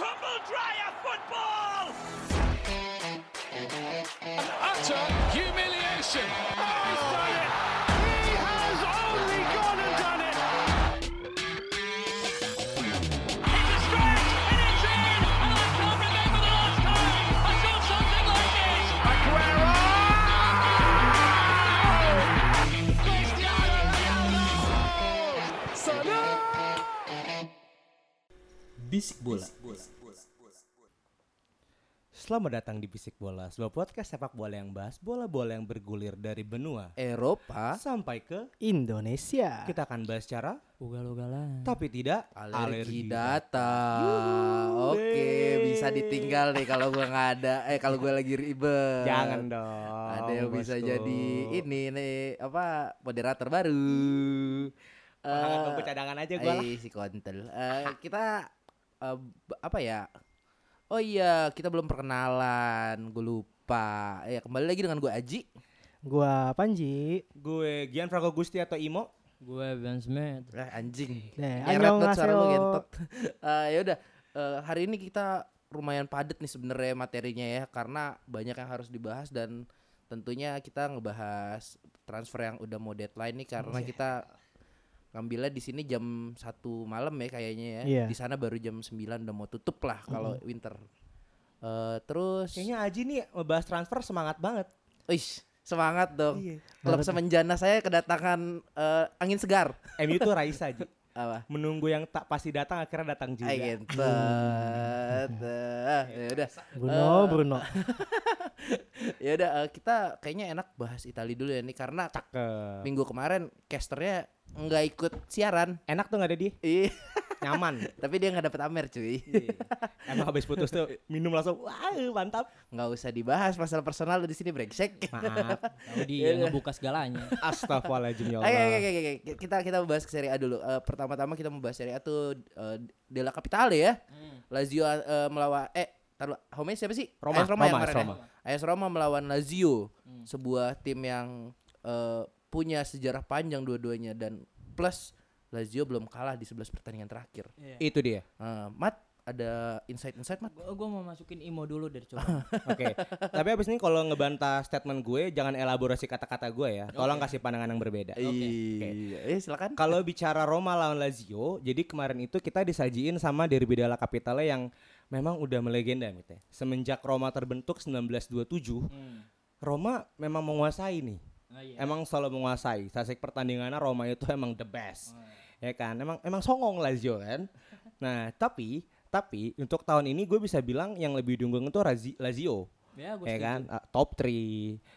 Australia football! utter humiliation. It's a stretch and it's in! And I can't remember the last time I saw something like this! Bisik bola. Selamat datang di Bisik Bola, sebuah podcast sepak bola yang bahas bola-bola yang bergulir dari benua Eropa sampai ke Indonesia. kita akan bahas cara Ugal-ugalan. tapi tidak alergi data. Ah, Oke, bisa ditinggal nih kalau gua nggak ada. Eh kalau gua lagi ribet. Jangan dong. Ada yang bisa bosku. jadi ini nih apa moderator baru. Hangat Eh, tunggu cadangan aja gua lah. eh, si kontel. Eh, kita eh, b- apa ya? Oh iya, kita belum perkenalan. Gue lupa. Ya kembali lagi dengan gue Aji. Gua Panji. Gue Gianfranco Gusti atau Imo. Gue Ben Smith. Eh, anjing. Nah, Nyeret banget suara lu annyeonghaseyo. gentot. Eh, ya udah, eh, hari ini kita lumayan padat nih sebenarnya materinya ya karena banyak yang harus dibahas dan tentunya kita ngebahas transfer yang udah mau deadline nih karena kita ngambilnya di sini jam satu malam ya kayaknya ya. Iya. Di sana baru jam 9 udah mau tutup lah kalau winter. Eh, terus Kayaknya Aji nih ngebahas transfer semangat banget. Uish, semangat dong. Iya. Klub semenjana saya kedatangan eh, angin segar. MU tuh Raisa Aji. Apa? Menunggu yang tak pasti datang akhirnya datang juga. Ay, gentet. Eh, ya udah. Bruno, Eh, Bruno. ya udah eh, kita kayaknya enak bahas Itali dulu ya nih karena Cakep. minggu kemarin casternya nggak ikut siaran. Enak tuh gak ada dia? Ih, Nyaman. tapi dia nggak dapat Amer cuy. Emang habis putus tuh minum langsung. Wah, mantap. Nggak usah dibahas masalah personal di sini brengsek. Maaf. Tahu dia yang ngebuka segalanya. Astagfirullahaladzim ya Oke, Allah. oke, oke, oke, oke. kita kita bahas ke Serie A dulu. Eh, pertama-tama kita mau bahas Serie A tuh eh, Della Capitale ya. Lazio eh, melawan eh taruh Home siapa sih? Roma, AS Roma, yang Roma, kemarin AS ya. AS Roma melawan Lazio, sebuah tim yang eh, punya sejarah panjang dua-duanya dan plus Lazio belum kalah di 11 pertandingan terakhir. Itu dia. Eh, Mat, ada insight-insight Mat? Gue mau masukin Imo dulu dari coba. Oke. Tapi abis ini kalau ngebantah statement gue, jangan elaborasi kata-kata gue ya. Tolong kasih pandangan yang berbeda. Iya, eh, silakan. Kalau bicara Roma lawan Lazio, jadi kemarin itu kita disajiin sama derby della Capitale yang memang udah melegenda gitu ya. Semenjak Roma terbentuk 1927, Roma memang menguasai nih. Hmm. Oh, iya. Emang selalu menguasai. Sasik pertandingannya Roma itu emang the best. Ya kan? Emang emang songong Lazio kan. Nah, tapi tapi untuk tahun ini gue bisa bilang yang lebih diunggul itu Razi- Lazio. Ya, gue ya kan Uh, top 3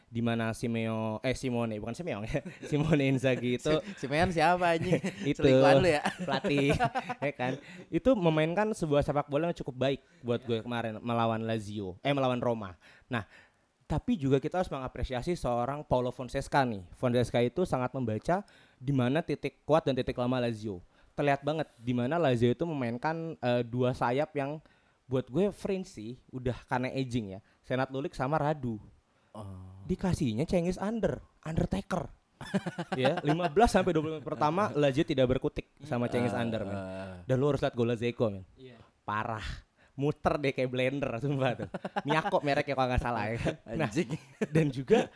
di mana Simeo eh Simone bukan Simeon ya Simone Inzaghi itu Simeon siapa anjing? itu Selingkuhan lu ya? pelatih ya kan itu memainkan sebuah sepak bola yang cukup baik buat gue kemarin melawan Lazio eh melawan Roma nah tapi juga kita harus mengapresiasi seorang Paulo Fonseca nih Fonseca itu sangat membaca di mana titik kuat dan titik lemah Lazio terlihat banget di mana Lazio itu memainkan eh, dua sayap yang buat gue fringe sih udah karena aging ya Senat Lulik sama Radu dikasihnya Cengiz Under, Undertaker. ya, 15 sampai 20 menit pertama Lazio tidak berkutik sama Cengiz Under, men. Eh, Dan lu harus lihat golnya Zeko, men. Iya. Parah. Muter deh kayak blender sumpah tuh. Miyako mereknya kalau nggak salah ya. kan. Nah, Anjing. dan juga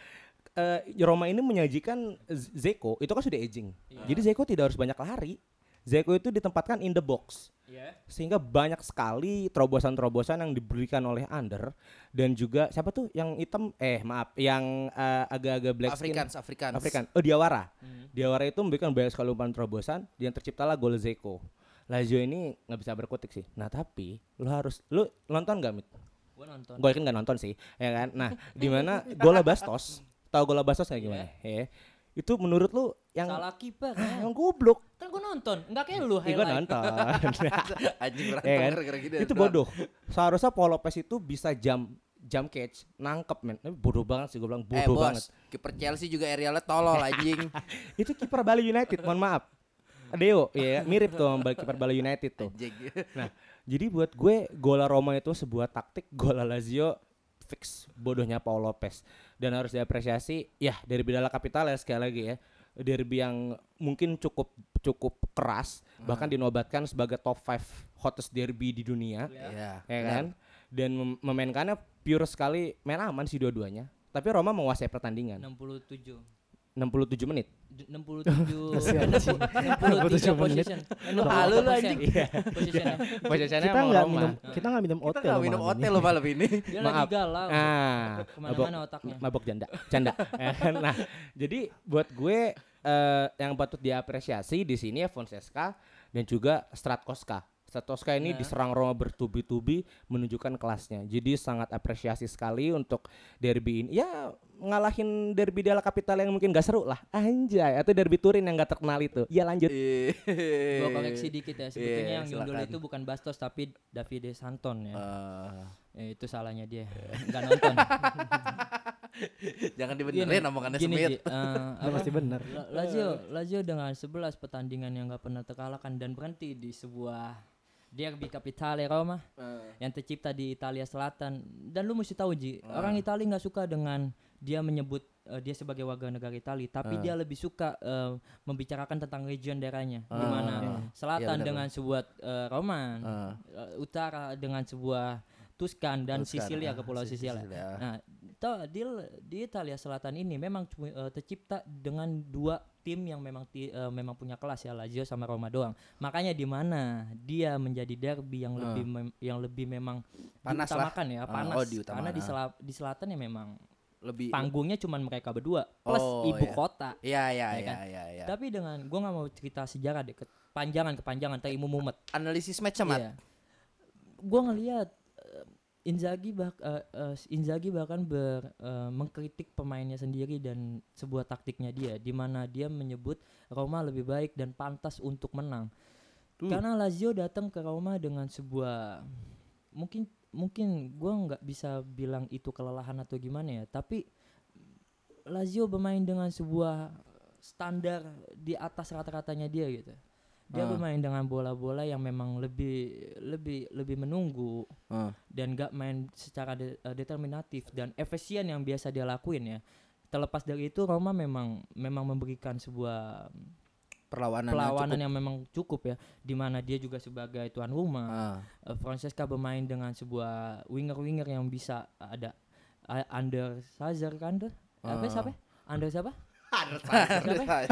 eh, Roma ini menyajikan Z- Zeko itu kan sudah aging. Jadi Zeko tidak harus banyak lari. Zeko itu ditempatkan in the box Iya. sehingga banyak sekali terobosan-terobosan yang diberikan oleh Under dan juga siapa tuh yang hitam eh maaf yang eh, agak-agak black skin Afrikans, Afrikans. Afrikan oh Diawara Diawara itu memberikan banyak sekali umpan terobosan dan terciptalah gol Zeko Lazio ini nggak bisa berkutik sih nah tapi lu harus lu nonton gak Mit? Gue nonton. gue yakin nggak nonton sih ya kan nah di mana Gola Bastos tahu Gola Bastos nggak gimana ya itu menurut lu yang Salah kiper. ah, yang goblok kan gue nonton. Enggak kayak lu Ih, gue highlight. nonton Anjing berantem ya kan? gara-gara gini, itu berantem. bodoh. Seharusnya Paul Lopez itu bisa jam jam catch, nangkep men. Tapi bodoh banget sih gue bilang bodoh eh, bos, banget. Kiper Chelsea juga aerialnya tolol anjing. Itu kiper Bali United, mohon maaf. Deo, ya mirip tuh sama kiper Bali United tuh. anjing. Nah, jadi buat gue gola Roma itu sebuah taktik gola Lazio fix bodohnya Paul Lopez dan harus diapresiasi ya dari Bidala Capital ya sekali lagi ya derby yang mungkin cukup cukup keras, bahkan dinobatkan sebagai top 5 hottest derby di dunia, Iya. ya kan? Dan mem- memainkannya pure sekali main aman sih dua-duanya. Tapi Roma menguasai pertandingan 67 67 menit. D- 67 Kasihan sih. 67 67 menit. position. Malu lu, anjing. Iya. Positionnya. Posisinya Kita emang nggak Roma. minum kita nggak minum Kita otel. nggak minum malam otel ini. loh malam ini. Dia Maaf. lagi galau. Ah, Kemana-mana otaknya. mabok janda, canda. Eh, nah, jadi buat gue eh, yang patut diapresiasi di sini ya Fonseca dan juga Stratkoska. Stratkoska ini Ya. diserang Roma bertubi-tubi menunjukkan kelasnya. Jadi sangat apresiasi sekali untuk derby ini. Ya ngalahin derby Della Capital yang mungkin gak seru lah. Anjay, atau derby Turin yang gak terkenal itu. Ya lanjut. Gua Gua koreksi dikit Iya, ya. Sebetulnya yang nyundul silakan. Ah. itu bukan Bastos tapi Davide Santon ya. Eh, itu salahnya dia. Iya. Enggak nonton. jangan dibenerin omongannya Smith. Ji, eh, Udah apa? pasti bener. La- Lazio, Lazio dengan 11 pertandingan yang gak pernah terkalahkan dan berhenti di sebuah derby capitale Roma Eh. yang tercipta di Italia Selatan. Dan lu mesti tahu Ji, orang Italia nggak suka dengan dia menyebut eh, dia sebagai warga negara Italia, tapi dia lebih suka eh, membicarakan tentang region daerahnya. Ah, Gimana iya. Iya, selatan benar, dengan sebuah eh, Roman, Ah. eh, utara dengan sebuah Tuscan dan Tuscan, ah, Sisilia kepulauan Sis- Sisilia. Sisilia. Nah, to- di di Italia Selatan ini memang cu- eh, tercipta dengan dua tim yang memang ti- eh, memang punya kelas ya Lazio sama Roma doang. Makanya di mana dia menjadi derby yang lebih mem- yang lebih memang Ah. Panas lah. diutamakan ya, Ah, panas. oh, diutamakan, Karena di ah. sela- di selatan ya memang Lebih panggungnya cuman mereka berdua plus Oh, ibu iya. kota. Iya iya Ya iya kan? iya iya. Tapi dengan gua nggak mau cerita sejarah deh, kepanjangan kepanjangan tapi ilmu mumet. Analisis match amat. Iya. Gua ngelihat eh, Inzaghi bah eh, eh, Inzaghi bahkan ber, eh, mengkritik pemainnya sendiri dan sebuah taktiknya dia di mana dia menyebut Roma lebih baik dan pantas untuk menang. Karena Lazio datang ke Roma dengan sebuah mungkin mungkin gua nggak bisa bilang itu kelelahan atau gimana ya, tapi Lazio bermain dengan sebuah standar di atas rata-ratanya dia gitu. Dia Ah. bermain dengan bola-bola yang memang lebih lebih lebih menunggu Ah. dan gak main secara de- eh, determinatif dan efisien yang biasa dia lakuin ya. Terlepas dari itu Roma memang memang memberikan sebuah Perlawanan perlawanan yang memang cukup ya di mana dia juga sebagai tuan rumah. Ah. Eh, Francesca bermain dengan sebuah winger-winger yang bisa ada eh, under Sazer kan tuh. Ah. Apa siapa? Under siapa? Iya,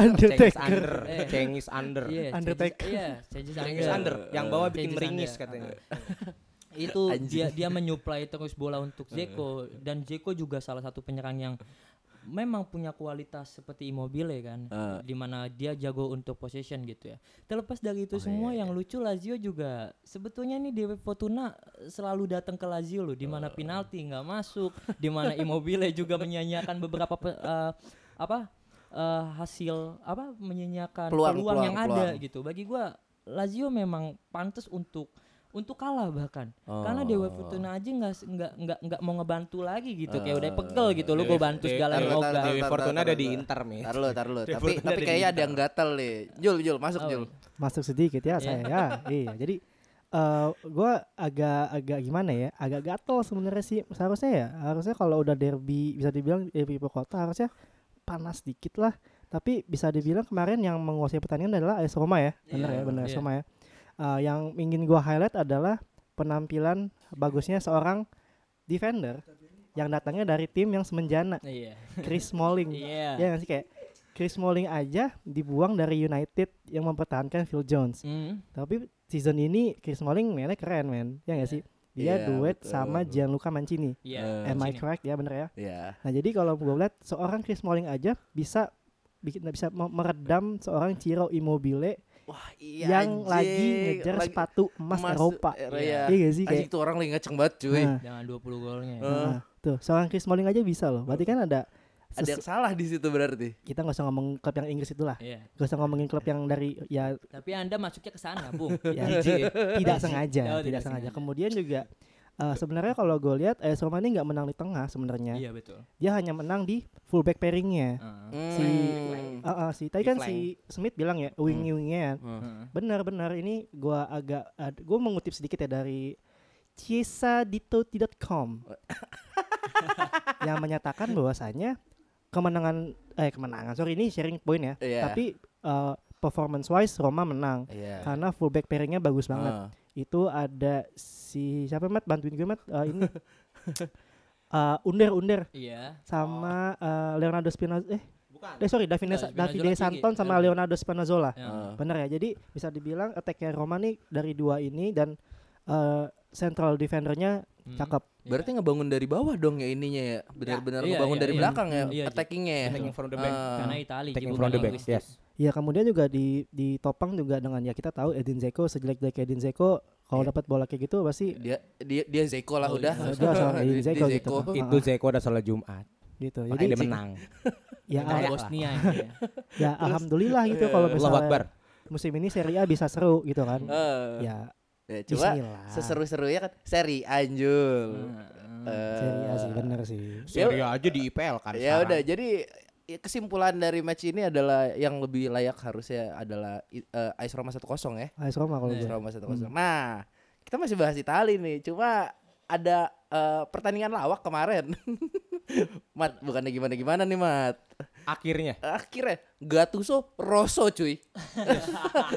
Cengis Undertaker. under. Eh. Cengis under. Iya, Undertaker. changes- Iya, changes Cengis under. Yang bawah bikin Changes meringis under. katanya. Itu dia dia menyuplai terus bola untuk Eh, Zeko dan Zeko juga salah satu penyerang yang memang punya kualitas seperti Immobile kan, Eh. dimana dia jago untuk possession gitu ya. Terlepas Oh, dari iya, itu semua yang lucu Lazio juga sebetulnya nih Dewi Fortuna selalu datang ke Lazio loh, dimana Eh. penalti nggak masuk, dimana Immobile juga menyanyiakan beberapa pe- eh, apa eh, hasil apa menyanyiakan peluang, Peluang, peluang, yang ada peluang. gitu. Bagi gua Lazio memang pantas untuk untuk kalah bahkan Oh. karena Dewa Fortuna aja nggak nggak nggak nggak mau ngebantu lagi gitu kayak Ah, udah pegel gitu iya, lu gue bantu segala Dewi- Taruh, taruh, yoga Dewi taruh, Iya. Fortuna taruh, ada di taruh. Inter, Mit. Taruh lu, taruh lu. Tapi Fortuna ada tapi di kayaknya ada yang gatel nih. Jul, Jul, masuk Oh, Jul. Masuk sedikit ya Iya. saya ya. Iya, jadi eh gua agak agak gimana ya? Agak gatel sebenarnya sih. Seharusnya ya, harusnya kalau udah derby bisa dibilang derby ibu kota harusnya panas dikit lah. Tapi bisa dibilang kemarin yang menguasai pertandingan adalah AS Roma ya. Benar Iya, ya, benar AS iya. Roma ya. Eh, yang ingin gua highlight adalah penampilan bagusnya seorang defender yang datangnya dari tim yang semenjana, iya Chris Smalling. iya Ya nggak sih kayak Chris Smalling aja dibuang dari United yang mempertahankan Phil Jones. Mm. Tapi season ini Chris Smalling mainnya keren men. Ya nggak sih? Dia Iya, duet betul. sama Gianluca Mancini. Iya, Eh. Am I sini. correct ya bener ya? Iya. Nah jadi kalau gue lihat seorang Chris Smalling aja bisa bikin bisa me- meredam seorang Ciro Immobile Wah, yang lagi ngejar sepatu emas Eropa. Iya. Iya nggak sih Anjing kayak? tuh orang lagi ngeceng banget cuy. Nah, dengan 20 golnya ya. Eh, nah, tuh seorang Chris Smalling aja bisa loh. Berarti kan ada, Ada sesu- yang salah di situ berarti. kita nggak usah ngomong klub yang Inggris itulah. Iya. Gak usah ngomongin klub yang dari ya tapi anda masuknya ke sana bung Iya. Ya, Jijik. tidak sengaja, Oh, tidak, sengaja. Kemudian juga eh, sebenarnya kalau gue lihat AS Roma ini nggak menang di tengah sebenarnya. iya betul Dia hanya menang di fullback pairingnya. Heeh. Si Hmm. Ah, ah, si Di tadi kan flank. si Smith bilang ya wing-wingnya. Heeh. Benar-benar ini gua agak gue mengutip sedikit ya dari cisadito.com yang menyatakan bahwasanya kemenangan eh kemenangan sorry ini sharing point ya. Iya. Tapi eh, performance wise Roma menang Iya. karena fullback pairingnya bagus banget. Ah. Itu ada si siapa Mat bantuin gue Mat Eh, ini Eh, Under Under Iya. sama eh, Leonardo Spinazzola eh, Oh. Bukan. eh sorry Davide Nah, Spinazzola Davide kiri, Santon sama Iya. kanan. Leonardo Spinazzola. Ya. Ah. Bener ya. Jadi bisa dibilang attack-nya Roma nih dari dua ini dan eh, central defendernya Hmm. Mm. cakep. Iya. Berarti ngebangun dari bawah dong ya ininya ya. Benar-benar Iya, ngebangun iya, dari iya. belakang ya, Iya, Ji. attackingnya ya. Taking from the Iya. back. Ah. Karena Itali Taking Ji, from the bukan back. Inggris. Yes. Ya kemudian juga di ditopang juga dengan ya kita tahu Edin Zeko sejelek-jelek Edin Zeko kalau Iya. dapat bola kayak gitu pasti dia dia dia Zeko lah Oh, udah. iya. Udah, sama kayak Dia- Zeko dia gitu. Zeko. Itu Zeko udah salat Jumat. gitu. Jadi Jadi Iya. dia menang. ya Kayak Lawan lah. Iya, Bosnia ini ya. ya alhamdulillah gitu kalau Iya, Allah misalnya Akbar. musim ini Serie A bisa seru gitu kan. Eh, ya ya, coba bismillah. seseru-serunya kan seri Anjul. Heeh. Eh, Serie A Iya, sih bener sih. Ya- Serie aja di IPL kan. Ya sekarang. udah, jadi ya, kesimpulan dari match ini adalah yang lebih layak harusnya adalah i- eh, AS Roma 1-0 ya. AS Roma kalau Iya. AS gue. Roma 1-0. Hmm. Nah, kita masih bahas Itali nih, cuma ada eh, pertandingan lawak kemarin. Mat, bukannya gimana-gimana nih, Mat. Akhirnya. Akhirnya Gattuso Rosso cuy.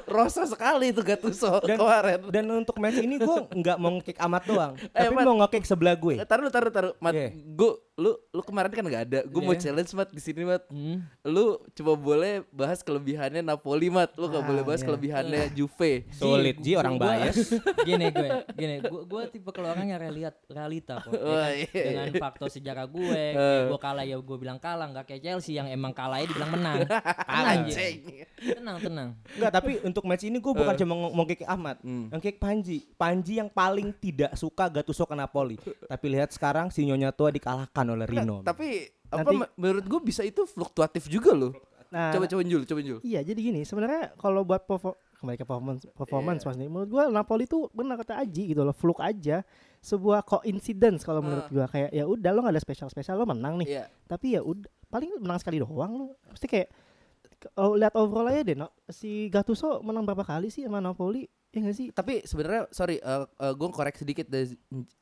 Rosso sekali itu Gattuso Dan- kemarin. Eh, Dan untuk match ini gue nggak mau nge-kick amat doang, tapi Mat. mau nge-kick sebelah gue. Eh, Taruh taruh taruh Mat, Iya. gua- lu lu kemarin kan nggak ada. Gue mau Iya. challenge Mat di sini Mat. Hmm. Lu coba boleh bahas kelebihannya Napoli Mat. Lu nggak Ah, boleh bahas iya. kelebihannya Juve. Ji, Solid, Ji, gua- orang gua- bias. Gini gue, gini gue, gue tipe keluarnya yang realita, realita kok. ya kan? Wah, iya, Eh. Dengan iya. faktor sejarah gue, gue kalah ya gue bilang kalah, nggak kayak Chelsea yang emang kalahnya dibilang menang. Tenang, Ji. Anjing. tenang, tenang. Enggak, tapi untuk match ini gue bukan cuma ng- mau kick Ahmad, Eh. Hmm. yang kick Panji. Panji yang paling tidak suka Gattuso ke Napoli. Tapi lihat sekarang si Nyonya tua dikalahkan oleh Rino. Nah, Tapi apa Nanti- ma- menurut gue bisa itu fluktuatif juga loh. Nah, Coba coba Jul, coba Jul. Iya jadi gini sebenarnya kalau buat perfor- kembali ke performance Iya. performance mas nih menurut gua Napoli tuh benar kata Aji gitu loh fluke aja sebuah coincidence kalau menurut gua kayak ya udah lo nggak ada spesial spesial lo menang nih Ah. Iya. tapi ya udah paling menang sekali doang lo pasti kayak kalau lihat overall aja deh no, si Gattuso menang berapa kali sih sama Napoli ya nggak sih Tapi sebenarnya sorry, gue korek sedikit dari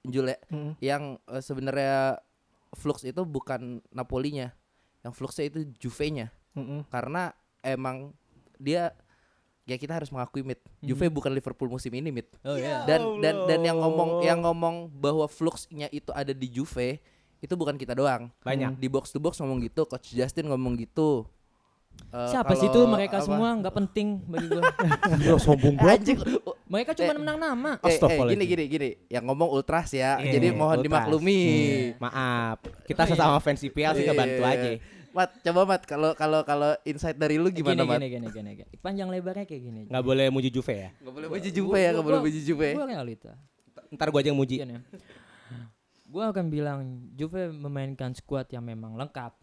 Jul ya. Mm. yang eh, sebenarnya flux itu bukan Napolinya yang fluxnya itu Juve-nya Mm-mm. karena emang dia ya kita harus mengakui mit Juve bukan Liverpool musim ini mit Oh iya. dan dan dan yang ngomong yang ngomong bahwa fluxnya itu ada di Juve itu bukan kita doang Banyak. di box to box ngomong gitu coach Justin ngomong gitu Eh, kalau Siapa sih itu mereka apa- semua nggak penting bagi gue. Gila, sombong anjing mereka Eh. cuma menang nama. eh, eh, Astagfirullahaladzim. gini gini gini yang ngomong ultras ya Iya, Eh, jadi mohon ultras. dimaklumi Maaf, kita sesama fans IPL sih ngebantu Iya. aja. Mat, coba Mat kalau kalau kalau insight dari lu gimana Eh, gini, Mat? gini, gini, gini, gini. Panjang lebarnya kayak gini. Nggak boleh muji Juve ya. Gak boleh puji Juve ya, gak boleh puji Juve. Gue realita. Ntar gue aja yang muji. Gini. Gue akan bilang Juve memainkan squad yang memang lengkap.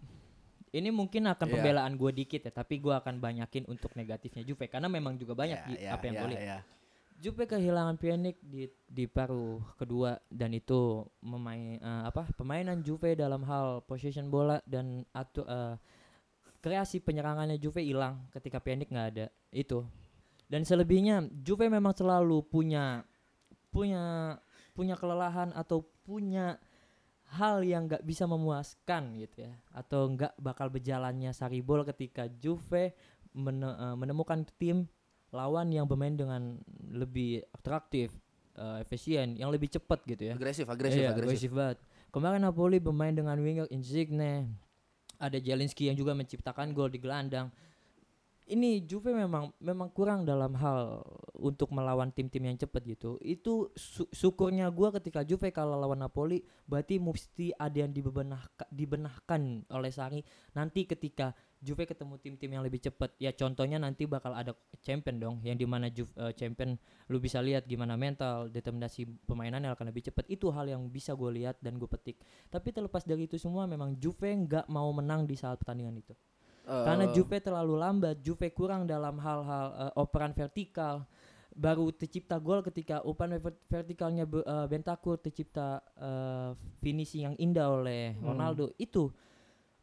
Ini mungkin akan Iya. pembelaan gue dikit ya, tapi gue akan banyakin untuk negatifnya Juve karena memang juga banyak Ya, di- ya, apa yang ya, gue lihat. ya. Juve kehilangan Pjanic di di paruh kedua dan itu memain eh, apa pemainan Juve dalam hal possession bola dan atu, eh, kreasi penyerangannya Juve hilang ketika Pjanic nggak ada itu dan selebihnya Juve memang selalu punya punya punya kelelahan atau punya hal yang nggak bisa memuaskan gitu ya atau nggak bakal berjalannya Saribol ketika Juve mene- eh, menemukan tim lawan yang bermain dengan lebih atraktif, eh, efisien, yang lebih cepat gitu ya. Agresif, agresif, Iya, agresif. banget. Kemarin Napoli bermain dengan winger Insigne, ada Jelinski yang juga menciptakan gol di gelandang. Ini Juve memang memang kurang dalam hal untuk melawan tim-tim yang cepat gitu. Itu su- syukurnya gua ketika Juve kalah lawan Napoli, berarti mesti ada yang dibenahkan, dibenahkan oleh Sari nanti ketika Juve ketemu tim-tim yang lebih cepat. Ya contohnya nanti bakal ada champion dong yang dimana Juve eh, champion lu bisa lihat gimana mental determinasi pemainannya akan lebih cepat itu hal yang bisa gue lihat dan gue petik tapi terlepas dari itu semua memang Juve nggak mau menang di saat pertandingan itu Eh, karena Juve terlalu lambat Juve kurang dalam hal-hal eh, operan vertikal baru tercipta gol ketika umpan ver- vertikalnya Be- eh, Bentakur tercipta eh, finishing yang indah oleh Ronaldo itu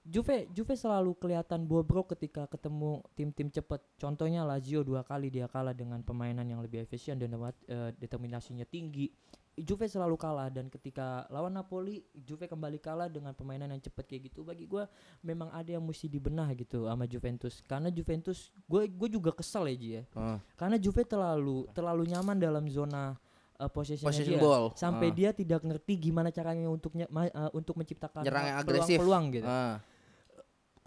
Juve Juve selalu kelihatan bobrok ketika ketemu tim-tim cepat. Contohnya Lazio dua kali dia kalah dengan pemainan yang lebih efisien dan demat- eh, determinasinya tinggi. Juve selalu kalah dan ketika lawan Napoli Juve kembali kalah dengan pemainan yang cepat kayak gitu. Bagi gua memang ada yang mesti dibenah gitu sama Juventus karena Juventus gue gue juga kesel ya Ji ya. Ah. Karena Juve terlalu terlalu nyaman dalam zona eh, possession-nya Possession dia. goal. sampai Ah. dia tidak ngerti gimana caranya untuk nye- ma- eh, untuk menciptakan Nyerang yang agresif. peluang-peluang gitu. Ah.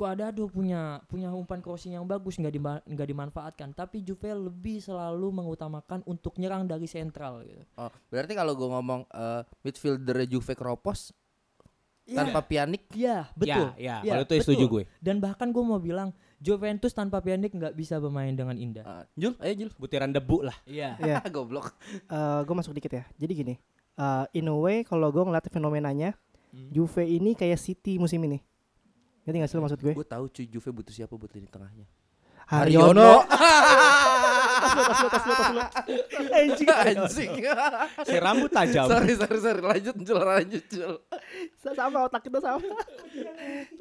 Cuadrado punya punya umpan crossing yang bagus nggak dima- nggak dimanfaatkan tapi Juve lebih selalu mengutamakan untuk nyerang dari sentral gitu. Oh, berarti kalau gue ngomong eh, midfielder Juve Kropos Iya. tanpa Pjanic Iya, betul. Ya, ya. Iya, Kalau itu setuju betul. gue. Dan bahkan gue mau bilang Juventus tanpa Pjanic nggak bisa bermain dengan indah. Ah, Jul, ayo Jul. Butiran debu lah. Iya. Iya. Ah, goblok. gue masuk dikit ya. Jadi gini, eh, in a way kalau gue ngeliat fenomenanya, Juve ini kayak City musim ini. Ngerti nggak sih lo maksud gue? Gue tahu cuy Juve butuh siapa buat lini tengahnya. Anjing, anjing. Si rambut tajam. sorry, sorry, sorry. Lanjut, Jul, lanjut, Jul. sama otak kita sama.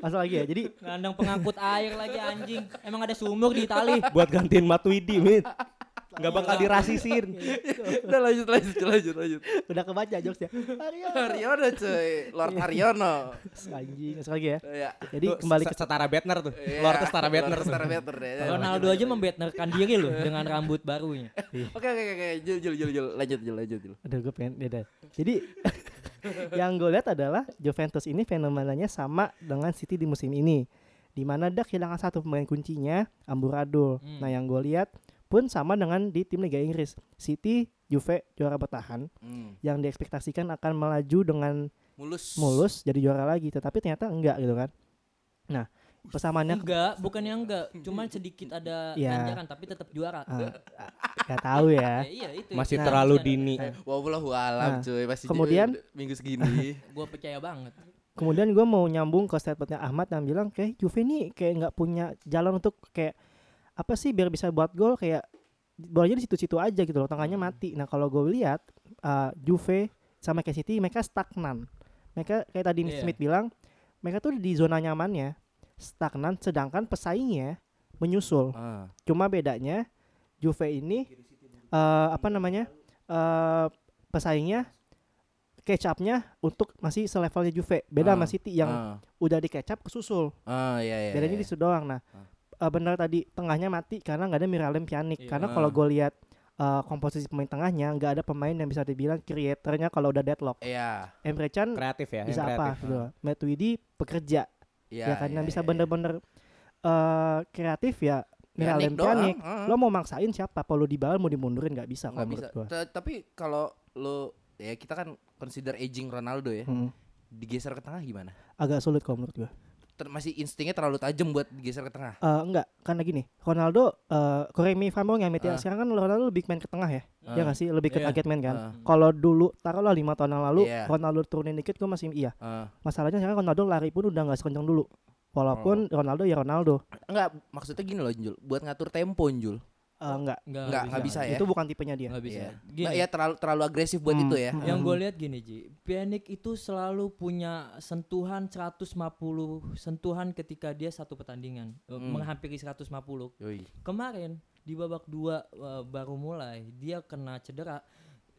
Masuk lagi ya. Jadi Kandang pengangkut air lagi anjing. Emang ada sumur di Itali. Buat gantiin Matuidi, Mit. Gak bakal dirasisin. Iya. Udah lanjut, lanjut, Jul, lanjut, lanjut. udah kebaca jokes ya. Haryono cuy, Lord Iya. Haryono. Anjing, masuk lagi ya. Ya. Jadi kembali ke setara Bettner tuh. Iya, Lord setara Bettner. Lord Setara Bettner, ya. Ronaldo aja membetnerkan diri loh dengan rambut barunya. Oke, oke, oke. Jul, Jul, Jul, Jul. Lanjut, Jul, lanjut, Jul. Aduh gue pengen ya, dah. Jadi yang gue lihat adalah Juventus ini fenomenanya sama dengan City di musim ini. Di mana dia kehilangan satu pemain kuncinya, Amburadul. Hmm. Nah yang gue lihat pun sama dengan di tim Liga Inggris. City, Juve juara bertahan Hmm. yang diekspektasikan akan melaju dengan Mulus. mulus jadi juara lagi. Tetapi ternyata enggak gitu kan. Nah persamaannya Enggak, bukan yang enggak, cuman sedikit ada Iya. tanjakan tapi tetap juara. Ah, nggak tahu ya. Ya, iya itu. Masih itu. terlalu dini. Wallahu alam Nah, cuy masih kemudian- ju- minggu segini Gua percaya banget. Kemudian gue mau nyambung ke statementnya Ahmad yang bilang kayak Juve ini kayak nggak punya jalan untuk kayak apa sih biar bisa buat gol kayak bolanya di situ-situ aja gitu loh tengahnya mati. Nah kalau gue lihat uh, Juve sama kayak City mereka stagnan. Mereka kayak tadi Iya. Smith bilang mereka tuh di zona nyamannya stagnan sedangkan pesaingnya menyusul. ah. Cuma bedanya Juve ini eh apa namanya? eh pesaingnya catch up-nya untuk masih selevelnya Juve. Beda Ah, sama City yang ah, udah di catch up kesusul. ah ya ya Bedanya ya. di situ doang. Nah, eh, benar tadi tengahnya mati karena nggak ada Miralem Iya. Pjanic. Karena kalau gue lihat eh, komposisi pemain tengahnya nggak ada pemain yang bisa dibilang creatornya kalau udah deadlock. Iya, Emre Can Kreatif ya, yang bisa apa? kreatif. Gitu. loh. Matuidi pekerja iya, ya kan yang iya, bisa iya. bener-bener eh, kreatif ya Miralem doang, Pjanic ah. lo mau maksain siapa Paulo Dybala mau dimundurin nggak bisa kalau nggak bisa menurut gua Ta- tapi kalau lo ya kita kan consider aging Ronaldo ya Hmm, digeser ke tengah gimana agak sulit kalau menurut gua Ter- masih instingnya terlalu tajam buat digeser ke tengah Eh, enggak karena gini Ronaldo eh correct me if I'm wrong ya Mit, Ah. ya. sekarang kan Ronaldo lebih main ke tengah ya ya nggak sih lebih ke Iya. target man kan Ah. kalau dulu taruhlah lima tahun yang lalu Iya. Ronaldo turunin dikit gua masih iya Ah, masalahnya sekarang Ronaldo lari pun udah nggak sekencang dulu walaupun Oh. Ronaldo ya Ronaldo enggak maksudnya gini loh Jul buat ngatur tempo Jul Eh, enggak Enggak, enggak enggak bisa, ya itu bukan tipenya dia Enggak bisa. Iya. Gini, Nah, ya terlalu terlalu agresif buat Hmm, itu ya hmm. yang gue lihat gini Ji, Pjanic itu selalu punya sentuhan 150 sentuhan ketika dia satu pertandingan eh, Hmm. menghampiri 150. Yoi. Kemarin di babak dua eh, baru mulai dia kena cedera.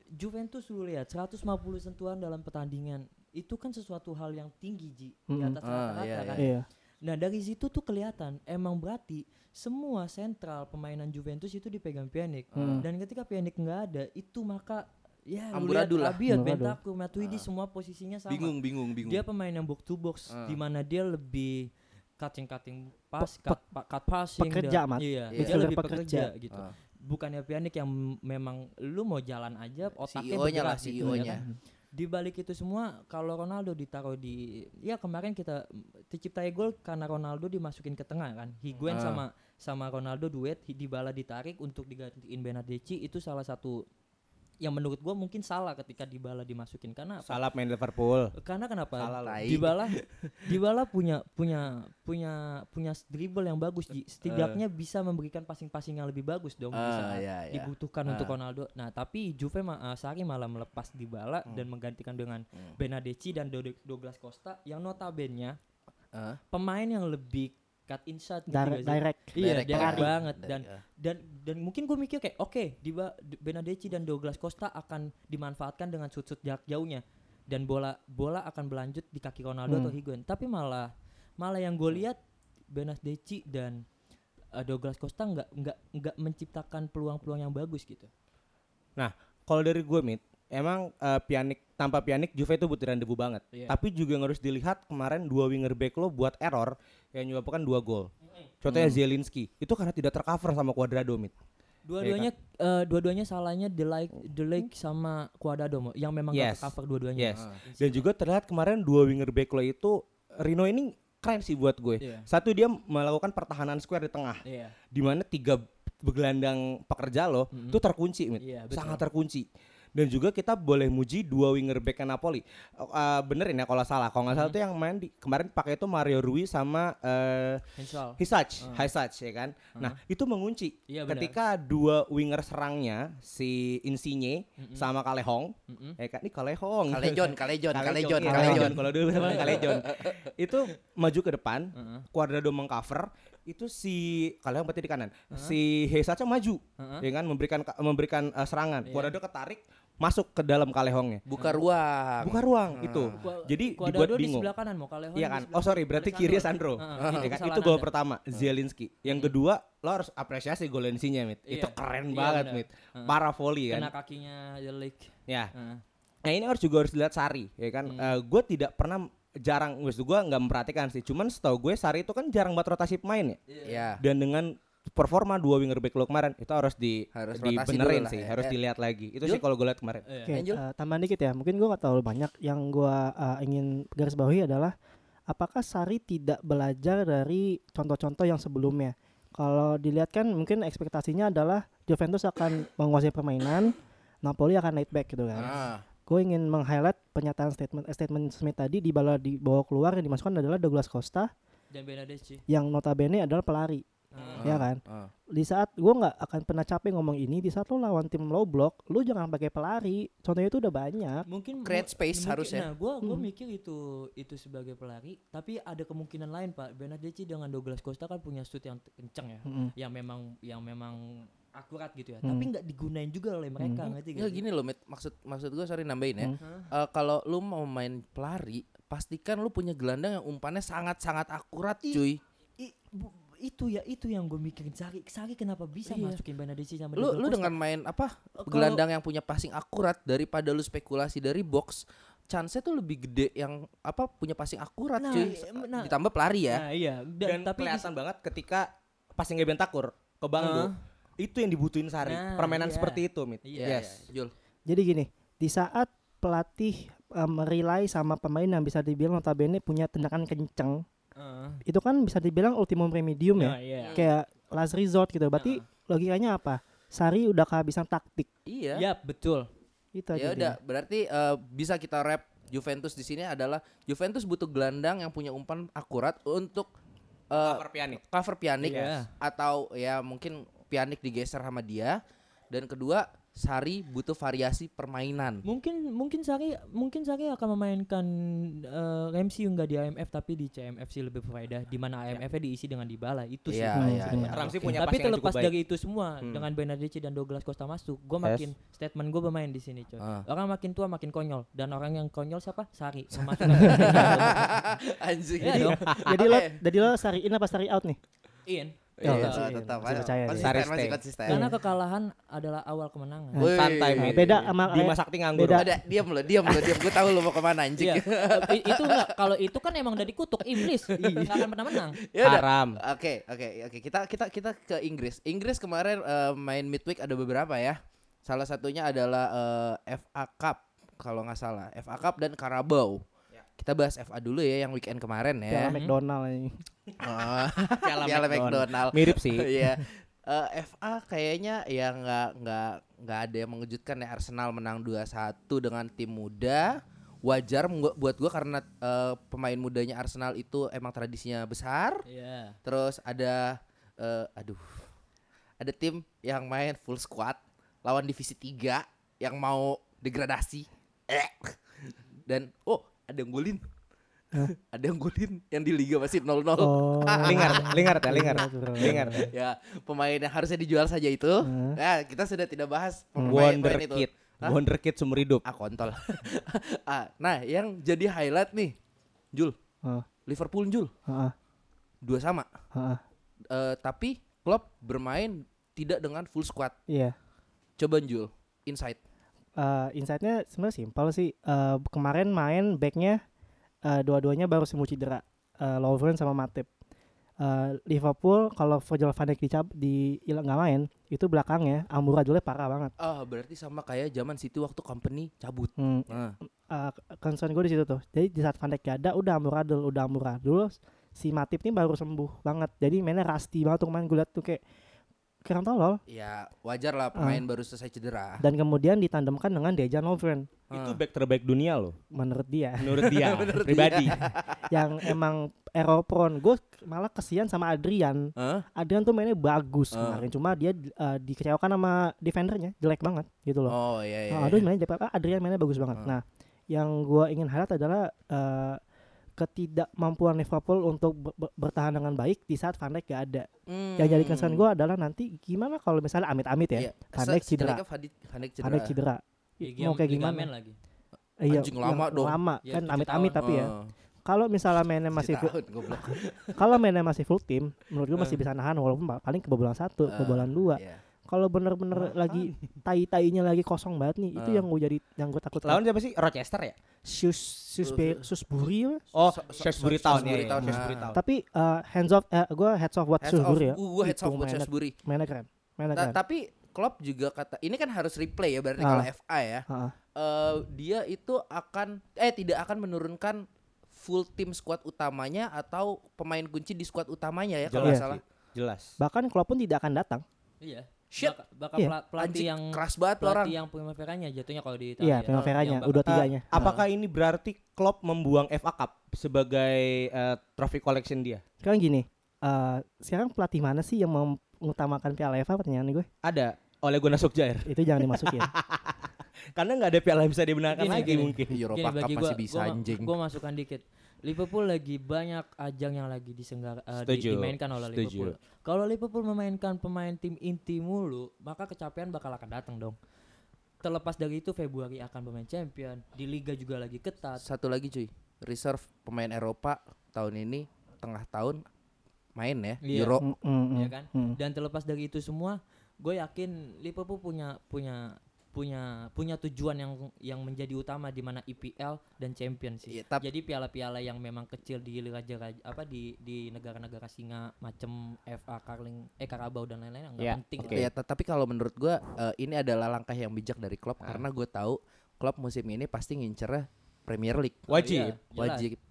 Juventus lu lihat 150 sentuhan dalam pertandingan itu kan sesuatu hal yang tinggi Ji di Mm-mm. atas Ah, rata-rata iya, kan. Hmm. iya Nah dari situ tuh kelihatan emang berarti semua sentral pemainan Juventus itu dipegang Pjanic Hmm. dan ketika Pjanic nggak ada itu maka ya lu lihat Amburadul lah. Rabiot, Amburadul. Ah. Bentakur, Matuidi semua posisinya sama. bingung bingung bingung Dia pemain yang box to box Ah. di mana dia lebih cutting cutting pass, cut, pa- cut passing, pekerja, dan- Mas. Iya, Iya. dia Midfielder lebih pekerja, pekerja. gitu. Ah. Bukannya Pjanic yang memang lu mau jalan aja CEO-nya E otaknya lah, bergerak gitu, ya CEO-nya. kan? di balik itu semua kalau Ronaldo ditaruh di ya kemarin kita terciptai gol karena Ronaldo dimasukin ke tengah kan Higuain Ah. sama sama Ronaldo duet Hi- Dybala ditarik untuk digantiin Bernadeschi itu salah satu yang menurut gua mungkin salah ketika Dybala dimasukin karena apa? Salah main Liverpool. karena kenapa Salah lah. Dybala Dybala punya punya punya punya dribble yang bagus Ji. setidaknya bisa memberikan passing-passing yang lebih bagus dong di Eh. Ah, saat iya, iya. dibutuhkan untuk Ah. Ronaldo. Nah, tapi Juve ma eh, Sarri malah melepas Hmm. Dybala dan menggantikan dengan Benadeci dan Dode- Douglas Costa yang notabene Heeh. pemain yang lebih cut inside gitu Dire- nggak sih? direct Iya, Direct direct pengaruh. banget Dari- dan eh, dan dan mungkin gue mikir kayak oke Diba D- Benadeci dan Douglas Costa akan dimanfaatkan dengan sudut jarak jauhnya dan bola bola akan berlanjut di kaki Ronaldo Hmm. atau Higuain tapi malah malah yang Hmm. gue lihat Benadeci dan eh, Douglas Costa nggak nggak nggak menciptakan peluang-peluang yang bagus gitu Nah, Kalau dari gue mit, emang eh, Pjanic tanpa Pjanic Juve itu butiran debu banget. Iya. Tapi juga yang harus dilihat kemarin dua winger back lo buat error yang menyebabkan dua gol. Contohnya Zielinski itu karena tidak tercover sama Cuadrado mit. dua-duanya Iya, eh, dua-duanya salahnya delay delay sama Cuadrado Mo, yang memang nggak Hmm. Yes. cover dua-duanya Ah, Yes. Dan juga terlihat kemarin dua winger back lo itu Rino ini keren sih buat gue. Iya. Satu dia melakukan pertahanan square di tengah, iya di mana tiga begelandang pekerja lo itu terkunci, Mit. Iya, betul. sangat terkunci. Dan juga kita boleh muji dua winger back Napoli. Eh, eh, benerin ya kalau salah, kalau nggak salah tuh yang main di- kemarin pakai itu Mario Rui sama eh Hensel. Hisach, Hisach ya kan. Nah, itu mengunci. Oh. Uh-huh. Iya, benar. Ketika dua winger serangnya si Insigne sama Kalehong, Mm-mm. ya kan? Ini Kalehong. Kalejon, Kalejon, Kalejon, iya, Kalejon. Kalau dulu namanya Kalejon. itu maju ke depan, Heeh. Cuadrado mengcover, itu si Kalehong berarti di kanan. Si Hesacha maju, ya Heeh. kan memberikan memberikan eh, serangan. Iya. Cuadrado ketarik masuk ke dalam Kalehongnya. Buka ruang. Buka ruang itu. Cua- Jadi Cuadrado dibuat di bingung. sebelah kanan mau Callejon Iya di kan? sebelah Oh sorry, kanan. berarti Alessandro. kiri Sandro. Heeh, Ya kan? kesalahan Itu gol Anda. pertama, Zielinski. Yang kedua, lo harus apresiasi gol Insigne, Mit. Itu Iya. keren Iya, banget, benar. Mit. Heeh. Para volley kan. Kena kakinya Ah. Delik. Ya. Heeh. Nah ini harus juga harus dilihat Sari, ya kan? Hmm. gue tidak pernah jarang, wes gue nggak memperhatikan sih. Cuman setahu gue Sari itu kan jarang banget rotasi pemain ya. Ya. Dan dengan performa dua winger back lo kemarin itu harus di Harus rotasi dibenerin dulu lah sih, ya. harus Eh, dilihat lagi. Itu Jul? sih kalau gue lihat kemarin. Iya. Oke, Angel? eh, tambahan dikit ya. Mungkin gua nggak terlalu banyak. Yang gua eh, ingin garis bawahi adalah apakah Sari tidak belajar dari contoh-contoh yang sebelumnya? Kalau dilihat kan mungkin ekspektasinya adalah Juventus akan menguasai permainan, Napoli akan night back gitu kan. Ah, Gue ingin meng-highlight penyataan statement eh, statement Smith tadi di bala dibawa keluar yang dimasukkan adalah Douglas Costa Dan Benadeschi. yang notabene adalah pelari, Heeh. ya kan? ah. di saat gue nggak akan pernah capek ngomong ini di saat lo lawan tim low block lo jangan pakai pelari contohnya itu udah banyak Eh, Mungkin Create mu- space ya. mungkin- harusnya. Nah, gua gua Hmm. mikir itu itu sebagai pelari, tapi ada kemungkinan lain, Pak. Benadeschi dengan Douglas Costa kan punya shoot yang t- kenceng ya. Hmm. Mm-mm. Yang memang yang memang akurat gitu ya. Hmm. Tapi nggak digunain juga oleh mereka, Hmm. ngerti nggak Ya sih? gini loh, Mit. maksud maksud gue sorry nambahin ya. Hmm. Hah? Eh, kalau lu mau main pelari, pastikan lu punya gelandang yang umpannya sangat-sangat akurat, cuy. I- bu- itu ya itu yang gue mikirin Sari. Sari kenapa bisa Iya. masukin Benadeschi sama Lu Douglas lu Costa? dengan main apa? Eh, kalau- Gelandang yang punya passing akurat daripada lu spekulasi dari box, chance-nya tuh lebih gede yang apa punya passing akurat, Nah, cuy. iya, nah. Ditambah pelari ya. Nah, iya. Dan, Dan, tapi di- kelihatan banget ketika passing Eben Takur ke Banggo, Heeh. itu yang dibutuhin Sari. Nah, Permainan iya. seperti itu, Mit. Iya, yes. Jul. jadi gini di saat pelatih eh, merilai sama pemain yang bisa dibilang notabene punya tendangan kenceng Heeh. itu kan bisa dibilang ultimum remedium Nah, ya iya. kayak last resort gitu berarti logikanya apa Sari udah kehabisan taktik Gitu Iya. Yap, betul. itu aja Ya dia. udah, berarti eh, bisa kita rap Juventus di sini adalah Juventus butuh gelandang yang punya umpan akurat untuk eh, Cover Pjanic. cover Pjanic Yes. atau ya mungkin Pjanic digeser sama dia. Dan kedua, Sari butuh variasi permainan. Mungkin mungkin Sari mungkin Sari akan memainkan eh, Ramsey nggak di IMF tapi di CMF sih lebih berfaedah di mana IMF-nya diisi dengan Dybala itu sih. Iya, menurut iya, gue. iya. Ramsey Oke. punya tapi passing yang terlepas cukup baik. dari itu semua Hmm. dengan Benadeschi dan Douglas Costa masuk, gue Yes. makin statement gue bermain di sini, coy. Ah. Orang makin tua makin konyol dan orang yang konyol siapa? Sari. Memasukkan Anjing. Iya dong. jadi lo Oke. jadi lo Sari in apa Sari out nih Ian. Iya, Iya, tetap, iya, tetap. masih percaya dia. Konsisten, Sari masih stay. konsisten. Karena kekalahan adalah awal kemenangan. Nah, Wih. Santai, Nah, Mit. beda sama Bima kayak- Sakti nganggur. beda. Udah, diam lo, diam lo, diam. Gue tahu lo mau kemana anjing. Iya. Eh, i- itu enggak kalau itu kan emang dari kutuk iblis. Enggak akan pernah menang. Ya udah. Haram. Oke, oke, oke. Kita kita kita ke Inggris. Inggris kemarin eh, main midweek ada beberapa ya. Salah satunya adalah eh, FA Cup kalau nggak salah. FA Cup dan Carabao. Kita bahas FA dulu ya yang weekend kemarin ya. Piala McDonald ini Eh, Piala Piala McDonald. McDonald. Mirip sih. Iya. Eh, FA kayaknya ya nggak nggak nggak ada yang mengejutkan ya Arsenal menang 2-1 dengan tim muda. Wajar mu- buat gua karena eh, pemain mudanya Arsenal itu emang tradisinya besar. Iya. Terus ada eh, aduh. Ada tim yang main full squad lawan divisi 3 yang mau degradasi. Eh. Dan oh, ada yang golin. ada yang golin yang di Liga masih 0-0. Oh. Ah, Lingard, Lingard ya, Lingard. Betul. Lingard. Ya, pemain yang harusnya dijual saja itu. Hmm. Nah, kita sudah tidak bahas pemain- pemain itu. Wonderkid. Hah? Wonderkid seumur hidup. Ah, kontol. ah, nah, yang jadi highlight nih, Jul. Oh, ah, Liverpool Jul, heeh, dua sama. heeh. Eh, tapi Klopp bermain tidak dengan full squad. Iya. Coba Jul, insight. Eh, insight-nya sebenarnya simpel sih. Eh, kemarin main backnya eh, dua-duanya baru sembuh cedera. Eh, Lovren sama Matip. Eh, Liverpool kalau Virgil van Dijk dicab di hilang nggak main itu belakangnya amburadulnya parah banget. Ah, berarti sama kayak zaman City waktu company cabut. Hmm, Nah, eh, concern gue di situ tuh. Jadi di saat Van Dijk gak ada, udah amburadul, udah amburadul. Si Matip nih baru sembuh banget. Jadi mainnya rusty banget tuh kemarin gue liat tuh kayak keren tolol. ya wajar lah Ah. pemain baru selesai cedera. Dan kemudian ditandemkan dengan Dejan Lovren Itu Ah. back terbaik dunia loh. menurut dia Menurut dia Menurut pribadi. yang emang error prone. Gue malah kesian sama Adrian. Hah? Adrian tuh mainnya bagus Ah. kemarin, cuma dia eh, dikecewakan sama defendernya jelek banget gitu loh. Oh iya iya. Nah, Adrian mainnya jelek, ah, Adrian mainnya bagus Ah. banget. Nah, yang gue ingin highlight adalah eh, ketidakmampuan Liverpool untuk ber- ber- bertahan dengan baik di saat Van Dijk gak ada. Yang jadi Hmm. concern gue adalah nanti gimana kalau misalnya amit-amit ya, Van Dijk cedera. Van Dijk Van Iya, cedera. Dijk cedera. I- Ligam- Mau kayak gimana? ligamen Iya, lagi. Iya, Anjing, yang lama dong. Lama Ya, kan tujuh amit-amit tapi ya. Ah, Kalau misalnya mainnya masih tujuh tahun, goblok. kalau mainnya masih full tim, menurut gue masih bisa nahan walaupun pa- paling kebobolan satu, Ah, kebobolan dua. Iya. Kalau bener-bener lagi tai-tainya lagi kosong banget nih, itu Ah. yang gue jadi yang gue takut. Lawan siapa sih? Rochester ya? Sus Susbe Susbury apa? Oh, So- so- Shrewsbury so- Town Shrewsbury ya. Town, ya. Shrewsbury ah. Town. Tapi eh, hands off eh, gue heads off buat Heads off, Susbury ya. gue heads Itu off buat mainnya, Shrewsbury. mainnya keren, mainnya Ta- keren. tapi Klopp juga kata ini kan harus replay ya berarti Ah. kalau FA ya. Ah. Eh, dia itu akan eh tidak akan menurunkan full tim squad utamanya atau pemain kunci di squad utamanya ya kalau Jelas nggak salah. sih. Jelas. Bahkan Klopp pun tidak akan datang. Iya. Shit. Bak- Bakal Iya. pela- pelatih Anjing, yang keras banget tuh orang. pelatih yang primaveranya jatuhnya kalau di Iya, Italia. Primaveranya, Yang bakal- udah Ah, tiganya. apakah ini berarti Klopp membuang FA Cup sebagai eh, trophy collection dia? Sekarang gini, eh, sekarang pelatih mana sih yang mem- mengutamakan Piala FA pertanyaan gue? Ada oleh Gunnar Solskjaer. Itu jangan dimasukin. Karena nggak ada piala yang bisa dibenarkan Gini, lagi gini. mungkin. Europa Gini, bagi Cup gua- masih bisa gua, ma- anjing. gua masukkan dikit. Liverpool lagi banyak ajang yang lagi disenggar, eh, di- Setuju, dimainkan oleh setuju. Liverpool. Kalau Liverpool memainkan pemain tim inti mulu, maka kecapean bakal akan datang dong. Terlepas dari itu Februari akan pemain champion, di liga juga lagi ketat. Satu lagi cuy, reserve pemain Eropa tahun ini tengah tahun main ya Iya. Euro. Mm, mm, ya Hmm, mm, kan? mm. Dan terlepas dari itu semua, gue yakin Liverpool punya punya punya punya tujuan yang yang menjadi utama di mana IPL dan Champions sih. Iya, tap- Jadi piala-piala yang memang kecil di raja-raja apa di di negara-negara singa macam FA Carling eh Karabau dan lain-lain enggak Iya, penting. oke. Ya, tet- tapi kalau menurut gua eh, ini adalah langkah yang bijak dari Klopp Ah. karena gue tahu Klopp musim ini pasti ngincernya Premier League. Wajib. Iya, jelas. Wajib.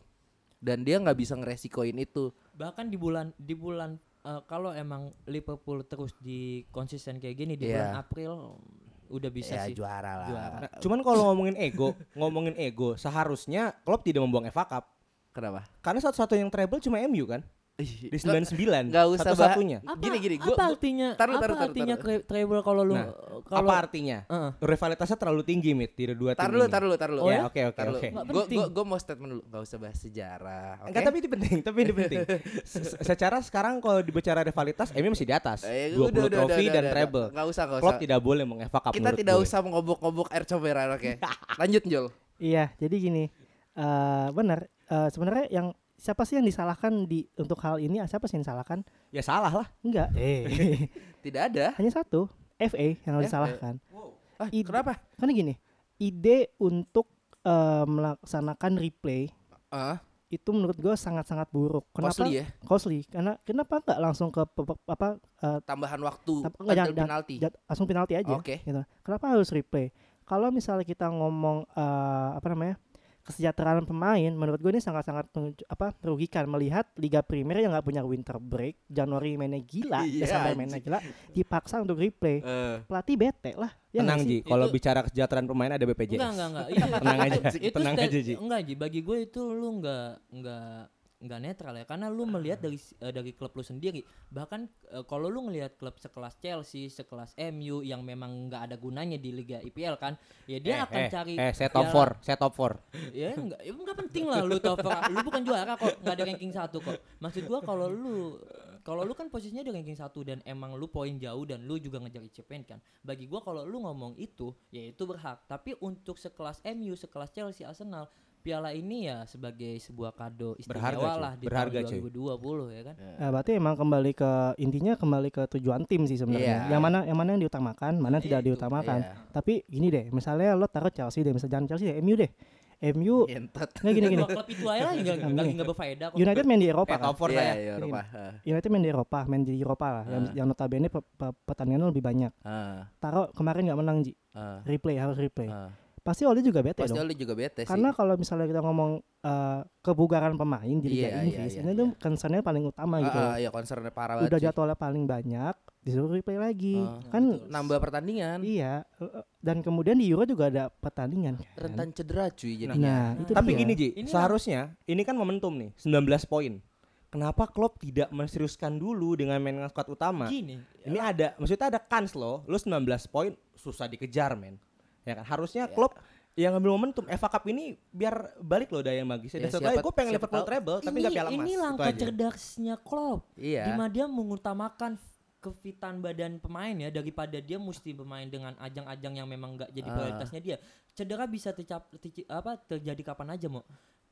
Dan dia nggak bisa ngeresikoin itu. Bahkan di bulan di bulan eh, kalau emang Liverpool terus di konsisten kayak gini di Iya. bulan April udah bisa ya sih. juara lah. Juara. Nah, cuman kalau ngomongin ego, ngomongin ego, seharusnya Klopp tidak membuang FA Cup. Kenapa? Karena satu-satunya yang treble cuma MU kan? Di 99. Nggak usah bah- satu-satunya. Apa, Gini, gini, gua- apa gua- artinya taruh, apa taruh, taruh, artinya taruh. tra- treble kalau lu Nah, kalau Apa artinya? Heeh. Rivalitasnya terlalu tinggi mit di dua tim Tar dulu, ini. tar dulu, tar dulu. Oh ya? Oke, oke, Tar dulu. oke. Nggak Gua, penting. gua, gua mau statement dulu. Gak usah bahas sejarah. oke? Eh, Enggak, tapi itu penting, tapi itu penting. Se- Secara sekarang kalau dibicara rivalitas, MU masih di atas. Eh, 20 udah, udah, trofi udah, dan udah, treble. udah. Nggak usah, nggak Klopp usah. tidak boleh meng FA Cup Kita menurut tidak gue. usah mengobok-obok air comberan, oke. Lanjut, Jol. Iya, jadi gini, eh benar. eh, Sebenarnya yang siapa sih yang disalahkan di untuk hal ini? Ah, Siapa sih yang disalahkan? Ya salah lah. Enggak, Eh. Tidak ada. hanya satu FA yang FA. disalahkan. Ah, Ide- kenapa? Karena gini, ide untuk eh, melaksanakan replay Ah, itu menurut gue sangat-sangat buruk. Kenapa? costly ya. Costly. Karena kenapa nggak langsung ke pe- pe- apa eh, Tambahan waktu. Tapi enggak, Penalti. jangan- jangan- penalti. jat- langsung penalti aja. Oke. gitu. Kenapa harus replay? Kalau misalnya kita ngomong eh, apa namanya kesejahteraan pemain, menurut gue ini sangat-sangat menunj- apa merugikan melihat Liga Primer yang nggak punya winter break, Januari mainnya gila, Iya, Desember anjing. mainnya gila, dipaksa untuk replay. Eh, Pelatih bete lah. Ya nggak Tenang sih? Ji, kalau Itu- bicara kesejahteraan pemain ada BPJS. enggak enggak enggak. Itu Iya, Tenang aja, itu tenang sta- aja Ji. Enggak Ji, bagi gue itu lu enggak enggak nggak netral ya karena lu melihat dari s- eh, dari klub lu sendiri bahkan eh, kalau lu ngelihat klub sekelas Chelsea sekelas MU yang memang nggak ada gunanya di Liga IPL kan ya eh, dia akan eh, cari Eh, saya top 4, jalan- saya top 4. ya enggak, ya enggak penting lah lu top up. lu bukan juara kok nggak ada ranking satu kok maksud gua kalau lu kalau lu kan posisinya di ranking satu dan emang lu poin jauh dan lu juga ngejar ICPN kan bagi gua kalau lu ngomong itu ya itu berhak tapi untuk sekelas MU sekelas Chelsea Arsenal piala ini ya sebagai sebuah kado istimewa Berharga, cuy. lah di Berharga, cuy. Iya. tahun 2020 ya kan Nah, berarti emang kembali ke intinya kembali ke tujuan tim sih Iya. sebenarnya. Yang mana yang mana yang diutamakan, mana yang Kan tidak Itu, diutamakan. iya. Tapi gini deh, misalnya lo taruh Chelsea deh, misalnya jangan Chelsea deh, MU deh. MU Entot. nggak gini gini. Dua klub itu aja lah nggak lagi nggak berfaedah kok United main di Eropa Eh, kan. top 4 saya. Iya, Eropa. Heeh. United main di Eropa, main di Eropa lah. Yang, Ah. yang notabene pe- pe- pertandingannya lebih banyak. Heeh. Taruh kemarin nggak menang Ji, Heeh. replay harus replay. Heeh. Pasti Oli juga bete eh. Ah. Pasti dong. lu juga bete sih. Karena kalau misalnya kita ngomong eh, kebugaran pemain di Iya, Liga iya, Inggris, iya, ini tuh concernnya paling utama gitu. Heeh, ya concernnya parah banget. Udah sih. jadwalnya paling banyak, disuruh replay lagi. Ah. kan nambah pertandingan. Iya, e- e- dan kemudian di Euro juga ada pertandingan kan. Rentan cedera cuy jadinya. Nah, itu Tapi dia. gini Ji, Ini seharusnya ini kan momentum nih, 19 poin. Kenapa Klopp tidak menseriuskan dulu dengan main dengan squad utama? gini Ini Ya. ada, maksudnya ada kans loh. Lu 19 poin susah dikejar, men. Ya kan? Harusnya Klopp yang ngambil momentum FA Cup ini biar balik loh daya magisnya. Dan Ya, sebenarnya siapa- gue pengen siapa Liverpool tahu. treble tapi nggak piala emas. ini Itu langkah aja. cerdasnya Klopp Iya. Di mana dia mengutamakan f- kefitan badan pemain ya daripada dia mesti bermain dengan ajang-ajang yang memang nggak jadi Ah. prioritasnya dia. Cedera bisa tercap, terci- apa terjadi kapan aja mau.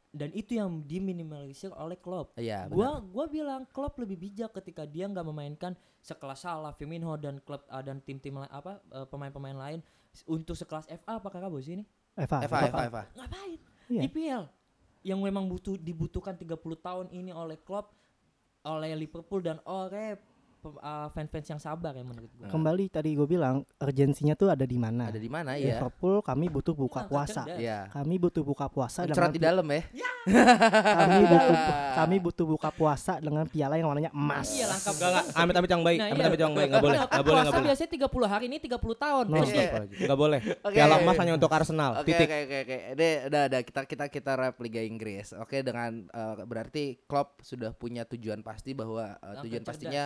Dan itu yang diminimalisir oleh Klopp. Iya, benar. Gua gua bilang Klopp lebih bijak ketika dia nggak memainkan sekelas Salah, Firmino dan klub ah, dan tim-tim la- apa eh, pemain-pemain lain S- untuk sekelas FA apa kakak bos ini? Eva, Eva, Eva. Eva, Eva. ngapain Iya. IPL yang memang butuh dibutuhkan 30 tahun ini oleh Klopp oleh Liverpool dan oleh pe- uh, fans-fans yang sabar ya menurut gua Kembali tadi gue bilang urgensinya tuh ada di mana? Ada di mana ya? Liverpool kami butuh buka Ini langkah puasa. cerdas. Iya. Kami butuh buka puasa Mencerot di dalam ya. kami butuh kami butuh buka puasa dengan piala yang warnanya emas. iya langkah Enggak, enggak. Amit amit yang baik. Nah, amit iya. amit yang baik. Enggak boleh. Kalau Enggak boleh, Nah. puasa enggak boleh. biasanya 30 hari ini 30 tahun. No, Terus Iya. Enggak boleh. Oke. Piala emas hanya untuk Arsenal. Oke Titik. oke oke oke. Ini udah ada kita kita kita rap Liga Inggris. Oke dengan eh, berarti Klopp sudah punya tujuan pasti bahwa eh, Langkah tujuan cerdas. pastinya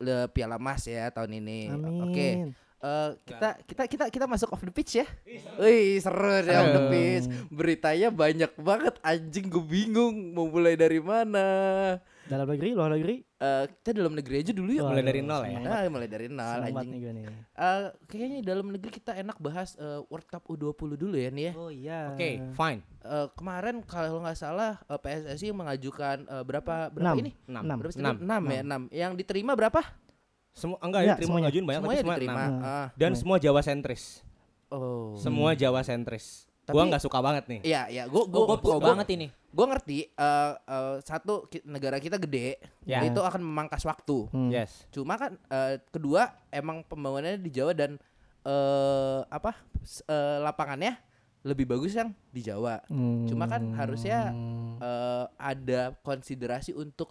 le Piala Emas ya tahun ini. Amin. Oke. Eh, Nah. kita kita kita kita masuk off the pitch ya. Wih seru deh off the pitch. Beritanya banyak banget anjing gue bingung mau mulai dari mana. Dalam negeri, luar negeri. Eh, kita dalam negeri aja dulu yuk. Wah, Mulai dari nol ya. Nah, mulai dari nol Seneng banget anjing. nih gue nih. Eh, kayaknya dalam negeri kita enak bahas eh, World Cup U20 dulu ya nih ya. Oh iya. Oke, fine. Eh, kemarin kalau nggak salah eh, PSSI mengajukan eh, berapa berapa Enam. ini? Enam. Enam. Berapa sih? Enam. Enam, ya, enam. Yang diterima berapa? Semua enggak Iya, ya, terima semuanya. ngajuin banyak tapi Semuanya semua diterima. enam. Ah, Dan Semuanya. semua Jawa sentris. oh. Semua Jawa sentris. Gua Tapi- nggak suka banget nih. Iya, iya. Gua Oh, Gue gua, gue pro banget ini. Gua ngerti eh, eh, satu ki- negara kita gede, Ya. itu akan memangkas waktu. Hmm. Yes. Cuma kan eh, kedua emang pembangunannya di Jawa dan eh apa? s- eh, lapangannya lebih bagus yang di Jawa. Hmm. Cuma kan harusnya eh, ada konsiderasi untuk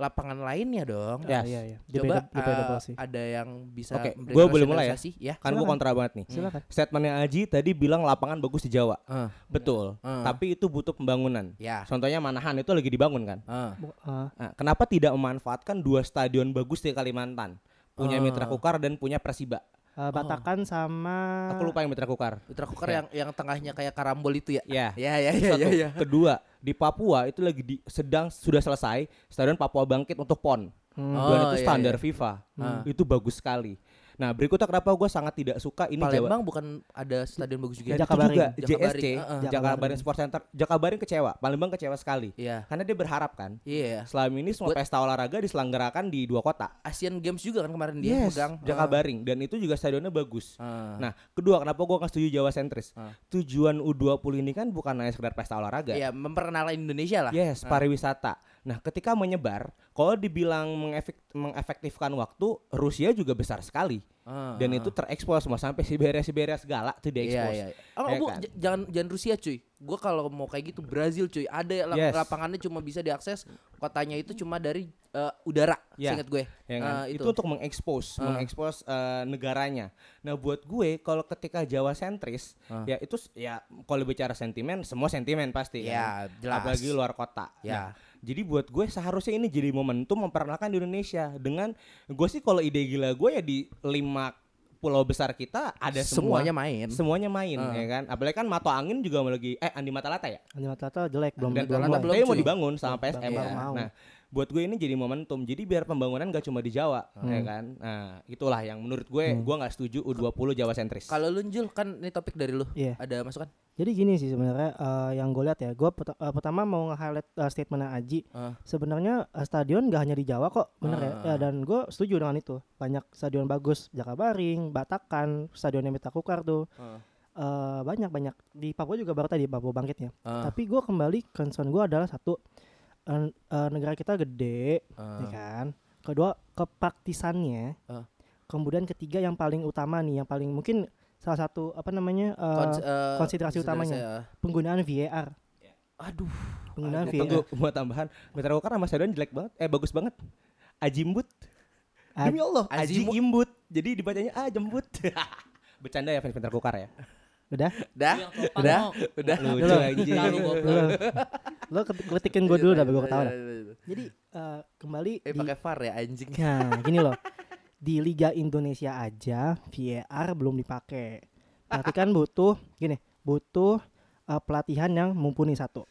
lapangan lainnya dong. Yes. Iya, iya. Coba Debatable- debatable uh, sih. ada yang bisa Oke, memberi gua boleh mulai ya? sosialisasi, ya? Kan gua Silakan. kontra banget nih. Silakan. Statementnya Aji tadi bilang lapangan bagus di Jawa. Ah, Betul. Ah. Tapi itu butuh pembangunan. ya. Contohnya Manahan itu lagi dibangun kan. Ah, Bu- ah, Nah, kenapa tidak memanfaatkan dua stadion bagus di Kalimantan? Punya Ah. Mitra Kukar dan punya Persiba. oh. eh, Batakan sama Ah. Aku lupa yang Mitra Kukar. Putra Kukar Ya. yang yang tengahnya kayak karambol itu ya. Ya. Ya ya Itu ya satu. ya. ya. Kedua, di Papua itu lagi di, sedang sudah selesai stadion Papua Bangkit untuk PON. Hmm. Oh, Dan itu iya, standar iya. FIFA. Ah. Itu bagus sekali. Nah, berikutnya kenapa gue sangat tidak suka ini Jawa. Palembang bukan ada stadion bagus Dan juga. ya? itu Jakabaring. juga Jakabaring, JSC, heeh. Jakabaring Sport Center. Jakabaring kecewa, Palembang kecewa sekali. Iya. Karena dia berharap kan Iya. selama ini semua Buat- pesta olahraga diselenggarakan di dua kota. Asian Games juga kan kemarin dia megang. Jakabaring dan itu juga stadionnya bagus. Ah. Nah, kedua kenapa gua nggak setuju Jawa sentris? Ah. Tujuan U20 ini kan bukan hanya sekedar pesta olahraga. Iya, memperkenalkan Indonesia lah. Yes, pariwisata. Nah, ketika menyebar, kalau dibilang mengefek- mengefektifkan waktu, Rusia juga besar sekali. Ah. Ah, dan ah, itu terekspos semua sampai Siberia Siberia segala tuh diekspos. Iya, iya. Oh, Ya Bu, kan? j- jangan jangan Rusia cuy. Gua kalau mau kayak gitu Brazil cuy. Ada ya, lap- Yes. lapangannya cuma bisa diakses kotanya itu cuma dari eh, udara, Ya. seingat gue. Ya kan? Eh, itu. untuk mengekspos, Ah. mengekspos eh, negaranya. Nah, buat gue kalau ketika Jawa sentris, Ah. ya itu s- ya kalau bicara sentimen, semua sentimen pasti kan. Ya, jelas. Apalagi luar kota. Ya. Nah, jadi buat gue seharusnya ini jadi momentum memperkenalkan di Indonesia dengan gue sih kalau ide gila gue ya di lima pulau besar kita ada semua. semuanya main. Semuanya main Ah. ya kan. Apalagi kan Mato Angin juga mau lagi eh Andi Matalata ya. Andi Matalata jelek belum Dan belum Matalata mulai. belum, tapi mau cuy. dibangun sama PSM. Iya. Mau. Nah, buat gue ini jadi momentum. Jadi biar pembangunan gak cuma di Jawa, Hmm. ya kan? Nah, itulah yang menurut gue gue nggak setuju U20 Jawa sentris. Kalau lu Jul, kan ini topik dari lu. Iya. Ada masukan? Jadi gini sih sebenarnya eh, yang gue lihat ya, gue pertama mau nge-highlight eh, statementnya Aji. Ah. Sebenarnya eh, stadion gak hanya di Jawa kok, bener ya. Ah. Ya, Dan gue setuju dengan itu. Banyak stadion bagus, Jakabaring, Batakan, stadionnya Metakukar tuh. Ah. Eh, banyak banyak di Papua juga baru tadi Papua bangkitnya. Ah, Tapi gue kembali concern gue adalah satu en- eh, negara kita gede, ah. ya kan. Kedua kepraktisannya. Ah. Kemudian ketiga yang paling utama nih, yang paling mungkin salah satu apa namanya eh, Kons- eh, konsiderasi utamanya. saya, eh, penggunaan VAR. Aduh, Penggunaan Aduh, VAR. Nah, Tunggu mau tambahan. Metro Kukar sama Stadion jelek banget. Eh bagus banget. Ajimbut. Aj- Demi Allah, Aji Ajimu- Imbut. Jadi dibacanya ah jembut. Bercanda ya fans Metro Kukar ya. Udah, dah, Yang topan, udah, Nok. udah. Lucu anjing. Tahu goblok. lo, lo ket- ketikin gue dulu dah, gue ketawa dah. Jadi eh, kembali Eh di, pakai VAR ya anjing. nah gini loh, di Liga Indonesia aja VAR belum dipakai. Berarti kan butuh gini, butuh eh, pelatihan yang mumpuni satu.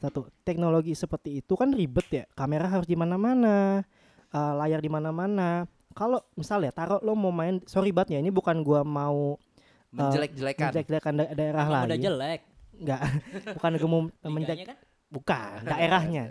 Satu, teknologi seperti itu kan ribet ya. Kamera harus di mana-mana, eh, layar di mana-mana. Kalau misalnya taruh lo mau main, sorry banget ya, ini bukan gua mau Menjelek-jelekan. menjelek-jelekan da- daerah Emang udah lain. jelek. Enggak, bukan gemum Liganya menjadi kan? bukan daerahnya.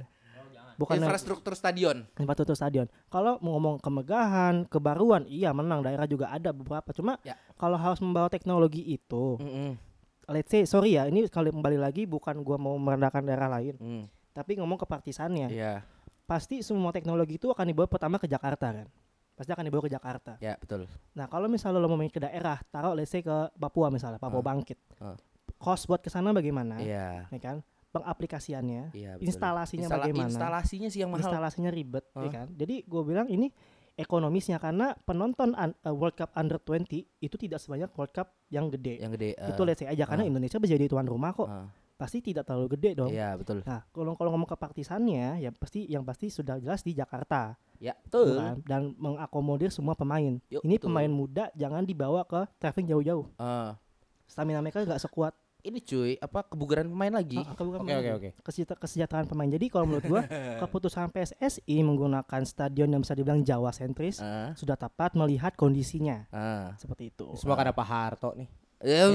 Bukan Infrastruktur stadion. infrastruktur stadion. Kalau mau ngomong kemegahan, kebaruan, iya menang daerah juga ada beberapa. Cuma Ya. kalau harus membawa teknologi itu, Mm-mm. let's say sorry ya, ini sekali kembali lagi bukan gua mau merendahkan daerah lain, Mm. tapi ngomong ke partisannya. Iya, Pasti semua teknologi itu akan dibawa pertama ke Jakarta kan. Pasti akan dibawa ke Jakarta. ya betul. Nah, kalau misalnya lo mau main ke daerah, taruh let's say ke Papua misalnya, Ah. Papua Bangkit. Ah. Cost buat ke sana bagaimana? Iya, Ya kan? Pengaplikasiannya iya betul. instalasinya Instala- bagaimana Instalasinya sih yang mahal. instalasinya ribet ya Hah? kan jadi gue bilang ini ekonomisnya karena penonton un- uh, World Cup under 20 itu tidak sebanyak World Cup yang gede yang gede. eh, itu let's say aja ah. karena Indonesia bisa jadi tuan rumah kok ah. pasti tidak terlalu gede dong Iya, betul. nah kalau kalau ngomong ke partisannya ya pasti yang pasti sudah jelas di Jakarta Ya, betul. bukan? dan mengakomodir semua pemain Yuk, ini betul. pemain muda jangan dibawa ke traveling jauh-jauh Ah, stamina mereka nggak sekuat ini cuy, apa kebugaran pemain lagi? Ah, Oke bukan pemain. oke oke. kesejahteraan, kesejahteraan pemain. Jadi kalau menurut gua keputusan PSSI menggunakan stadion yang bisa dibilang Jawa sentris Ah, sudah tepat melihat kondisinya ah. seperti itu. Semua karena Pak Harto nih. Eh,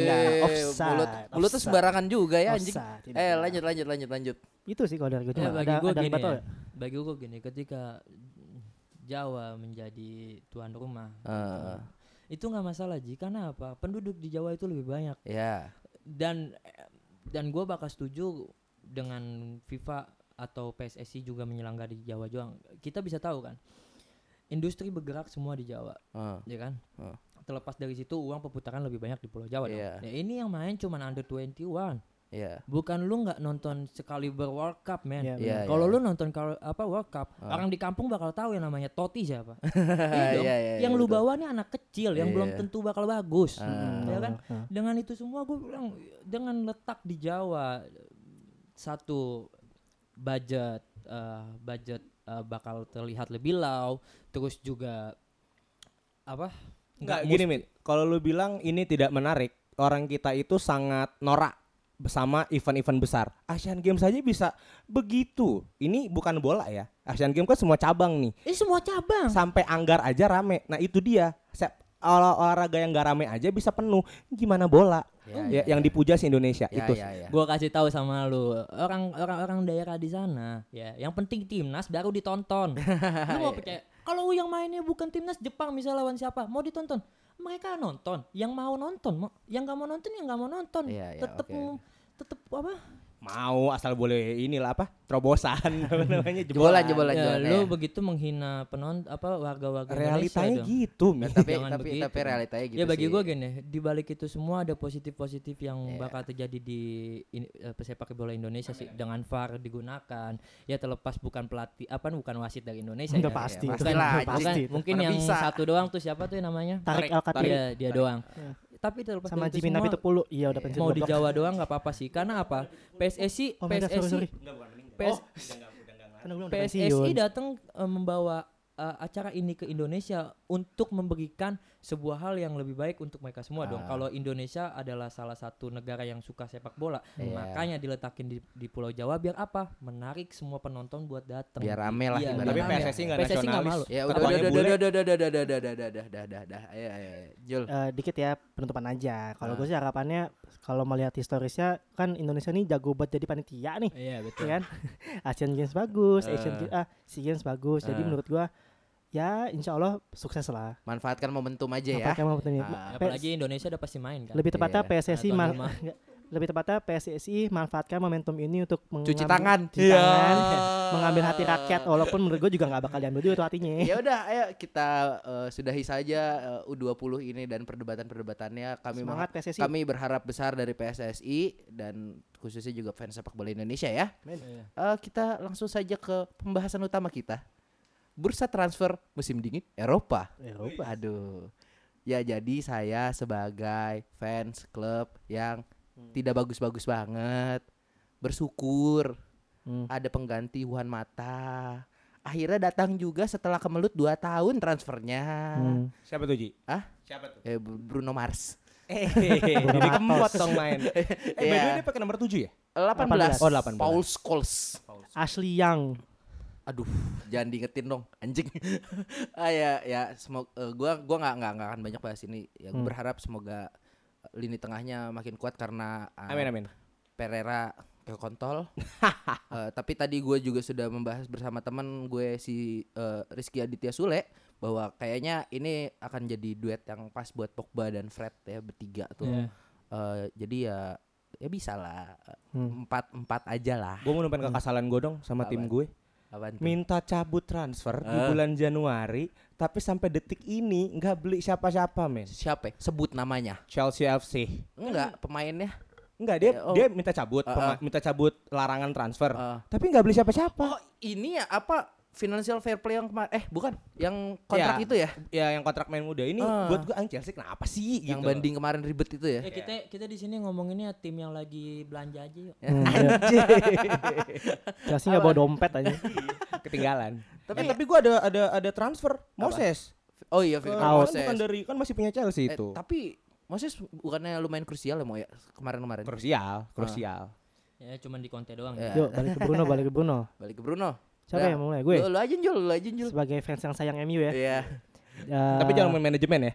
enggak, eh, offside, Mulut, mulut tuh offside. sembarangan juga ya anjing. Offside, Eh, tidak kena. lanjut lanjut lanjut lanjut. Itu sih kalau dari gua Ya, cuma bagi ada gue ada gini batal ya. ya? Bagi gue gini, ketika Jawa menjadi tuan rumah, Ah, ah. itu nggak masalah ji karena apa penduduk di Jawa itu lebih banyak ya. dan eh, dan gue bakal setuju dengan FIFA atau PSSI juga menyelenggara di Jawa Juang kita bisa tahu kan industri bergerak semua di Jawa Ah, ya kan Heeh. terlepas dari situ uang perputaran lebih banyak di Pulau Jawa dong. Iya. Ya, ini yang main cuman under 21 ya. bukan lu nggak nonton sekali ber World Cup men Iya, Iya, kalau iya. lu nonton kalau apa World Cup, Ah. orang di kampung bakal tahu yang namanya Toti siapa. Iya dong. Iya, iya, yang iya, lu betul. bawa nih anak kecil yang belum Iya. tentu bakal bagus. Ah. Mm, Ya kan? ah. Dengan itu semua gue bilang dengan letak di Jawa satu budget eh, budget eh, bakal terlihat lebih low, terus juga apa? Enggak nggak gini mus- Min, kalau lu bilang ini tidak menarik, orang kita itu sangat norak bersama event-event besar. Asian Games saja bisa begitu. Ini bukan bola ya. Asian Games kan semua cabang nih. Ini semua cabang. Sampai anggar aja rame. Nah, itu dia. Sep- olah- olahraga yang gak rame aja bisa penuh. Gimana bola? Ya, Ya, ya, yang dipuja si Indonesia Ya, itu. ya, ya. Gue kasih tahu sama lu orang orang orang daerah di sana ya yang penting timnas baru ditonton lu mau percaya kalau yang mainnya bukan timnas Jepang misalnya lawan siapa mau ditonton mereka ya nonton yang mau nonton mau- yang nggak mau nonton yang nggak mau nonton Iya, iya, tetep oke. tetep apa Mau asal boleh inilah apa? Terobosan apa namanya Jebolan, jebolan. jebolan. Ya, Lanjutannya. lu begitu menghina penonton apa warga-warga Indonesia Realitanya dong. gitu, men. tapi Jangan tapi begitu. tapi realitanya gitu ya bagi sih. gue gini, di balik itu semua ada positif-positif yang Iya. bakal terjadi di ini, eh, sepak bola Indonesia sih dengan VAR digunakan. Ya terlepas bukan pelatih apa bukan wasit dari Indonesia Udah ya. pasti, ya, Bukan, itu kan pastilah, udah bukan- pasti. itu. mungkin Mana yang bisa. satu doang tuh siapa tuh namanya? Tarik, Tarik Al Katiri Iya, dia doang. Tapi terlepas sama dari itu Jimin Nabi semua, Tepulu. Iya udah pensiun. mau di goblok. Jawa doang nggak apa-apa sih. Karena apa? PSSI Oh, my God, sorry, sorry. PSSI PS, Kan aku bilang udah PSSI pensiun. datang eh, membawa eh, acara ini ke Indonesia untuk memberikan sebuah hal yang lebih baik untuk mereka semua dong. Ah. Kalau Indonesia adalah salah satu negara yang suka sepak bola, Iya. makanya diletakin di, di Pulau Jawa biar apa? Menarik semua penonton buat datang. Biar rame lah Iya, ibaratnya. Tapi rame. PSSI enggak PSSI nggak nasionalis. Ya malu. udah udah Apanya udah bule? udah udah udah udah udah udah udah udah udah udah udah ayo ayo ayo. Jul. Eh, dikit ya penutupan aja. Nah. Kalau Ah. gue sih harapannya kalau melihat historisnya kan Indonesia nih jago buat jadi panitia nih, Iya, betul. ya kan? Asian Games bagus, Eh. Ah. Asian Games, ah, SEA Games bagus. Jadi Ah. menurut gua ya insya Allah sukses lah. Manfaatkan momentum aja ya. Apakah mau bertanya? Ah. Pe- Iya. Apalagi Indonesia udah pasti main kan. lebih tepatnya Iya. PSSI Nah, tuan mal- rumah. enggak. lebih tepatnya PSSI manfaatkan momentum ini untuk Cuci mengambil- tangan. Iya. cuci tangan, mengambil hati rakyat walaupun menurut gue juga nggak bakal diambil juga tuh hatinya. Ya udah ayo kita eh, sudahi saja eh, U20 ini dan perdebatan-perdebatannya kami Semangat mengha- PSSI. kami berharap besar dari PSSI dan khususnya juga fans sepak bola Indonesia ya. Eh, kita langsung saja ke pembahasan utama kita. Bursa transfer musim dingin Eropa. Eropa. Aduh. Ya jadi saya sebagai fans klub yang tidak bagus-bagus banget bersyukur Hmm. ada pengganti Juan Mata. Akhirnya datang juga setelah kemelut 2 tahun transfernya. Hmm. Siapa tuh, Ji? Hah? Siapa tuh? Eh, Br- Bruno Mars. Eh, jadi kempot dong main. Eh, by the way Iya. dia pakai nomor 7 ya? 18. Oh, 18. Paul Scholes. Ashley Young. Aduh, jangan diingetin dong, anjing. ah ya, ya semoga gua gua nggak nggak nggak akan banyak bahas ini. Ya gua Hmm. berharap semoga eh, lini tengahnya makin kuat karena ah, Amin amin. Pereira ke kontol. Eh, tapi tadi gue juga sudah membahas bersama teman gue si eh, Rizky Aditya Sule bahwa kayaknya ini akan jadi duet yang pas buat Pogba dan Fred ya bertiga tuh. Iya. Eh, jadi ya ya bisa lah Hmm. empat empat aja lah. Gue mau numpain kekasalan gue dong sama tim Apaan? gue. Apaan tuh? Minta cabut transfer di Eh. bulan Januari, tapi sampai detik ini nggak beli siapa-siapa, men. Siapa? ya? Sebut namanya. Chelsea FC. Enggak, pemainnya. Enggak, dia Eh, oh. dia minta cabut, Ah, pema- minta cabut larangan transfer. Eh. Ah. Tapi nggak beli siapa-siapa. Oh, ini ya apa financial fair play yang kemarin eh bukan yang Ya. kontrak itu ya Ya yang kontrak main muda ini Ah. buat gue anjing Chelsea kenapa sih gitu yang loh. banding kemarin ribet itu ya. Eh, kita kita di sini ngomonginnya tim yang lagi belanja aja yuk. Hmm, iya. Chelsea nggak bawa dompet aja. ketinggalan. Tapi- Tapi tapi gue ada ada ada transfer Moses. Oh iya, Ke, Firmino kemarin Moses. bukan dari kan masih punya Chelsea Eh, itu. tapi Moses bukannya lumayan krusial ya mau ya kemarin-kemarin. Krusial, krusial. Ya cuman di konten doang. Ya. Yuk balik ke Bruno, balik ke Bruno. Balik ke Bruno. Siapa Udah. yang mulai? Gue. Lu, lu aja Jul, lu aja Jul. Sebagai fans yang sayang MU ya. Ya. Iya. Eh, Tapi jangan main manajemen ya.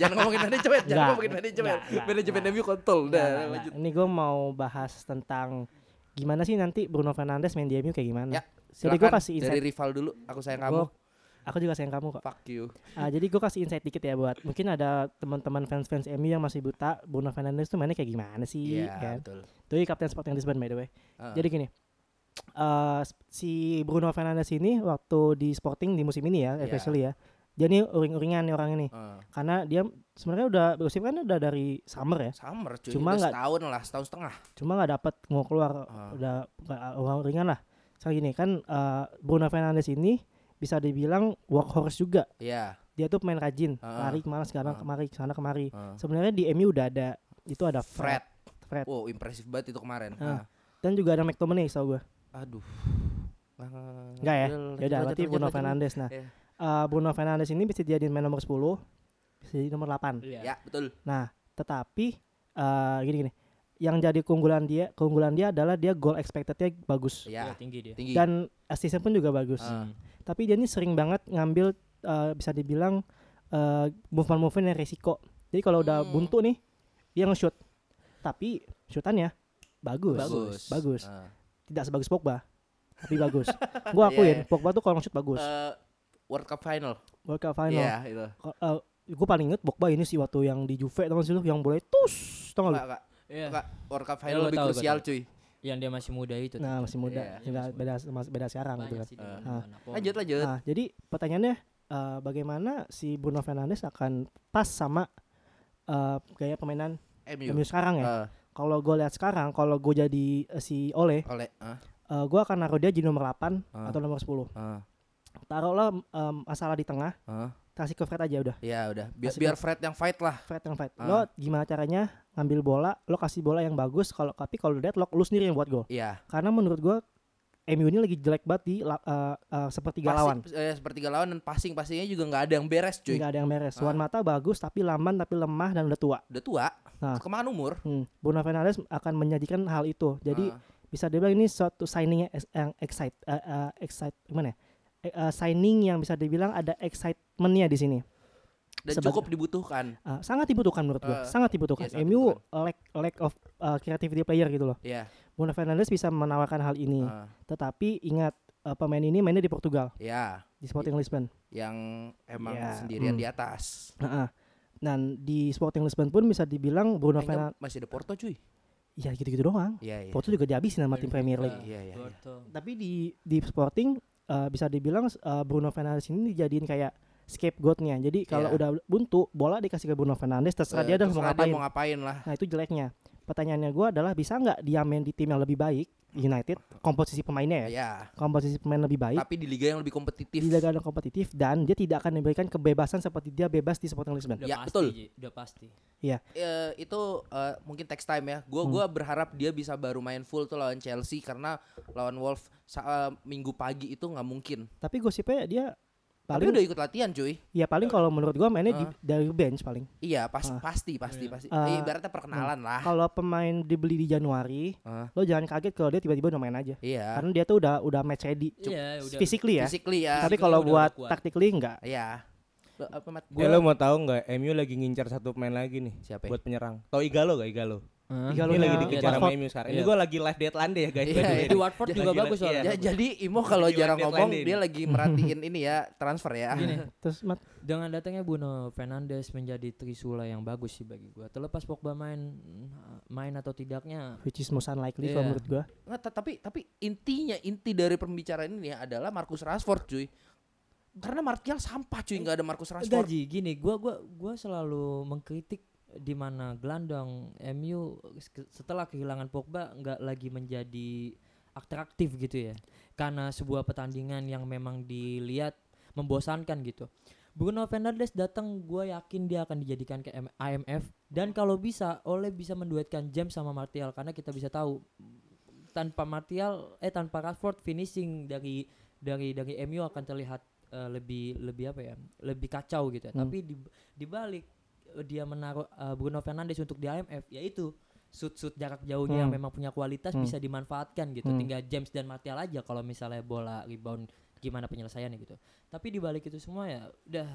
jangan ngomongin manajemen, jangan Enggak. ngomongin manajemen. Enggak, enggak, Manajemen MU kontol. Nah, Udah, nah, nah. lanjut. Ini gue mau bahas tentang gimana sih nanti Bruno Fernandes main di MU kayak gimana? Ya, Silakan Jadi gue kasih dari insight. rival dulu. Aku sayang kamu. Gua- Aku juga sayang kamu kok. Fuck you. Ah, jadi gue kasih insight dikit ya buat mungkin ada teman-teman fans-fans MU yang masih buta Bruno Fernandes tuh mainnya kayak gimana sih? Iya, kan? betul. Tuh kapten Sporting Lisbon by the way. Ah. Jadi gini. eh, si Bruno Fernandes ini waktu di Sporting di musim ini ya, Iya. especially ya. Dia nih uring-uringan nih orang ini. Ah, Karena dia sebenarnya udah berusia kan udah dari summer ya. summer cuy. Cuma Udah nggak- setahun lah, setahun setengah. Cuma nggak dapat mau keluar Ah. udah nggak uring-uringan lah. Soalnya gini kan eh, Bruno Fernandes ini bisa dibilang workhorse juga. Iya. Dia tuh pemain rajin, Ah. lari kemana Ah. sekarang kemari, sana kemari. Ah. Sebenarnya di MU udah ada itu ada Fred. Fred, Fred. Wow, impresif banget itu kemarin. Ah. Ah. dan juga ada McTominay tau gue. Aduh. Ah, Enggak ya? lanjut, Ya udah lanjut, berarti lanjut, Bruno lanjut. Fernandes nah. Iya. eh, Bruno Fernandes ini bisa jadi main nomor 10, bisa jadi nomor 8. Iya. Ya, betul. Nah, tetapi eh gini gini. Yang jadi keunggulan dia, keunggulan dia adalah dia goal expectednya bagus Ya, Iya, tinggi dia. tinggi. dan assistnya pun juga bagus. Ah. Tapi dia ini sering banget ngambil eh, bisa dibilang eh, movement-movement yang risiko. Jadi kalau udah Hmm. buntu nih, dia nge-shoot. Tapi shootannya bagus. bagus. Bagus. Ah. Tidak sebagus Pogba, tapi bagus. Gua akuin Iya, iya. Pogba tuh kalau nge-shoot bagus. Eh, World Cup final. World Cup final. Iya, itu. gue paling inget Pogba ini sih waktu yang di Juve tau gak sih lu yang boleh tus tau gak lu Kak, Iya. Eh. Kak, World Cup final gua lebih tahu, gua krusial cuy. yang dia masih muda itu. Nah, masih Iya, muda, tinggal masih muda. beda mas- beda sekarang gitu Banyak kan. sih di Ah. mana-mana. Pol- Lanjut lanjut. Nah, jadi pertanyaannya eh, bagaimana si Bruno Fernandes akan pas sama eh, gaya permainan MU. MU sekarang ya? Eh, Kalau gue lihat sekarang, kalau gue jadi eh, si Oleh, oleh ah, eh, gue akan naruh dia jadi nomor 8 Ah. atau nomor 10. ah, Taruhlah em, masalah di tengah, ah. kasih ke Fred aja udah. Ya udah, biar, Masih biar Fred yang fight lah. Fred yang Fred. Ah. Lo gimana caranya ngambil bola, lo kasih bola yang bagus kalau tapi kalau deadlock lo sendiri yang buat gol. Iya. Karena menurut gua MU ini lagi jelek banget di la- eh, eh, sepertiga Passing- lawan. eh, sepertiga lawan dan passing pastinya juga nggak ada yang beres cuy. Enggak ada yang beres. Ah. Wan Mata bagus tapi lamban tapi lemah dan udah tua. Udah tua. Nah. Kemakan umur. Hmm. Bruno Fernandes akan menyajikan hal itu. Jadi Ah, bisa dibilang ini suatu signing yang ex- yang excite eh, eh, excite gimana ya? Eh, eh, signing yang bisa dibilang ada excitementnya di sini. dan sebagai- cukup dibutuhkan. Eh, sangat dibutuhkan menurut gua. Eh, sangat dibutuhkan. iya, sangat MU lack lack of eh, creativity player gitu loh. Iya. Bruno Fernandes bisa menawarkan hal ini. ah, Tetapi ingat eh, pemain ini mainnya di Portugal Iya. di Sporting Lisbon. Yang emang Iya, sendirian hmm. di atas. Nah, dan di Sporting Lisbon pun bisa dibilang Bruno Kayaknya Fernandes masih ada Porto cuy. ya gitu-gitu doang. Iya iya. Porto juga dihabisin sama tim Premier League. Iya iya. iya. Porto. Tapi di di Sporting eh, bisa dibilang eh, Bruno Fernandes ini dijadiin kayak scapegoatnya. Jadi kalau Iya. udah buntu, bola dikasih ke Bruno Fernandes terserah Eh, dia dan mau terserah ngapain. mau ngapain lah. Nah, itu jeleknya. Pertanyaannya gua adalah bisa nggak dia main di tim yang lebih baik United komposisi pemainnya ya Iya. komposisi pemain lebih baik Tapi di liga yang lebih kompetitif. di liga yang kompetitif dan dia tidak akan diberikan kebebasan seperti dia bebas di Sporting Lisbon. Udah Ya, pasti, betul. Ji, udah pasti. Eh, itu eh, mungkin text time ya. Gua Hmm. gua berharap dia bisa baru main full tuh lawan Chelsea karena lawan Wolves sa- eh, minggu pagi itu nggak mungkin. Tapi gosipnya dia Tapi paling udah ikut latihan cuy. ya paling kalau menurut gua mainnya di, dari bench paling. Iya, pas, Ah. pasti pasti pasti. Ah. Eh, Ibaratnya perkenalan lah. Kalau pemain dibeli di Januari, Ah. lo jangan kaget kalau dia tiba-tiba udah main aja. Iya. Karena dia tuh udah udah match ready Cuk- Iya, udah- physically ya. Physically ya. Tapi physically kalau udah- buat udah kuat. tactically enggak. Iya. Lo- apa, Mat? Gua... Eh, Gua- lo mau tahu nggak? MU lagi ngincar satu pemain lagi nih. Siapa ya? Buat penyerang. Tau Igalo gak Igalo? ya. Igalo Ini lagi nya dikejar sama Watford. MU sekarang. Ini Iya. gue lagi live deadline deh ya guys. Iya, by the way. iya. Di Watford juga Lagi- bagus soalnya. iya. Ya, jadi Imo kalau Lagi jarang landed, ngomong landed. dia lagi merhatiin ini ya transfer ya. Gini, Terus Mat, dengan datangnya Bruno Fernandes menjadi trisula yang bagus sih bagi gua. Terlepas Pogba main main atau tidaknya, which is most unlikely Iya. kalau menurut gua. Nggak, ta- tapi tapi intinya inti dari pembicaraan ini ya adalah Marcus Rashford cuy. Karena Martial sampah cuy, nggak ada Marcus Enggak, Rashford. Ji, gini, gua gua gua selalu mengkritik di mana gelandang MU se- setelah kehilangan Pogba nggak lagi menjadi atraktif gitu ya. Karena sebuah pertandingan yang memang dilihat membosankan gitu. Bruno Fernandes datang, gue yakin dia akan dijadikan ke M- IMF dan kalau bisa oleh bisa menduetkan James sama Martial karena kita bisa tahu tanpa Martial eh tanpa Rashford finishing dari dari dari MU akan terlihat eh, lebih lebih apa ya lebih kacau gitu ya. Hmm. tapi di dibalik eh, dia menaruh eh, Bruno Fernandes untuk di IMF yaitu shoot-shoot jarak jauhnya yang Hmm. memang punya kualitas Hmm. bisa dimanfaatkan gitu Hmm. tinggal James dan Martial aja kalau misalnya bola rebound gimana penyelesaiannya gitu tapi dibalik itu semua ya udah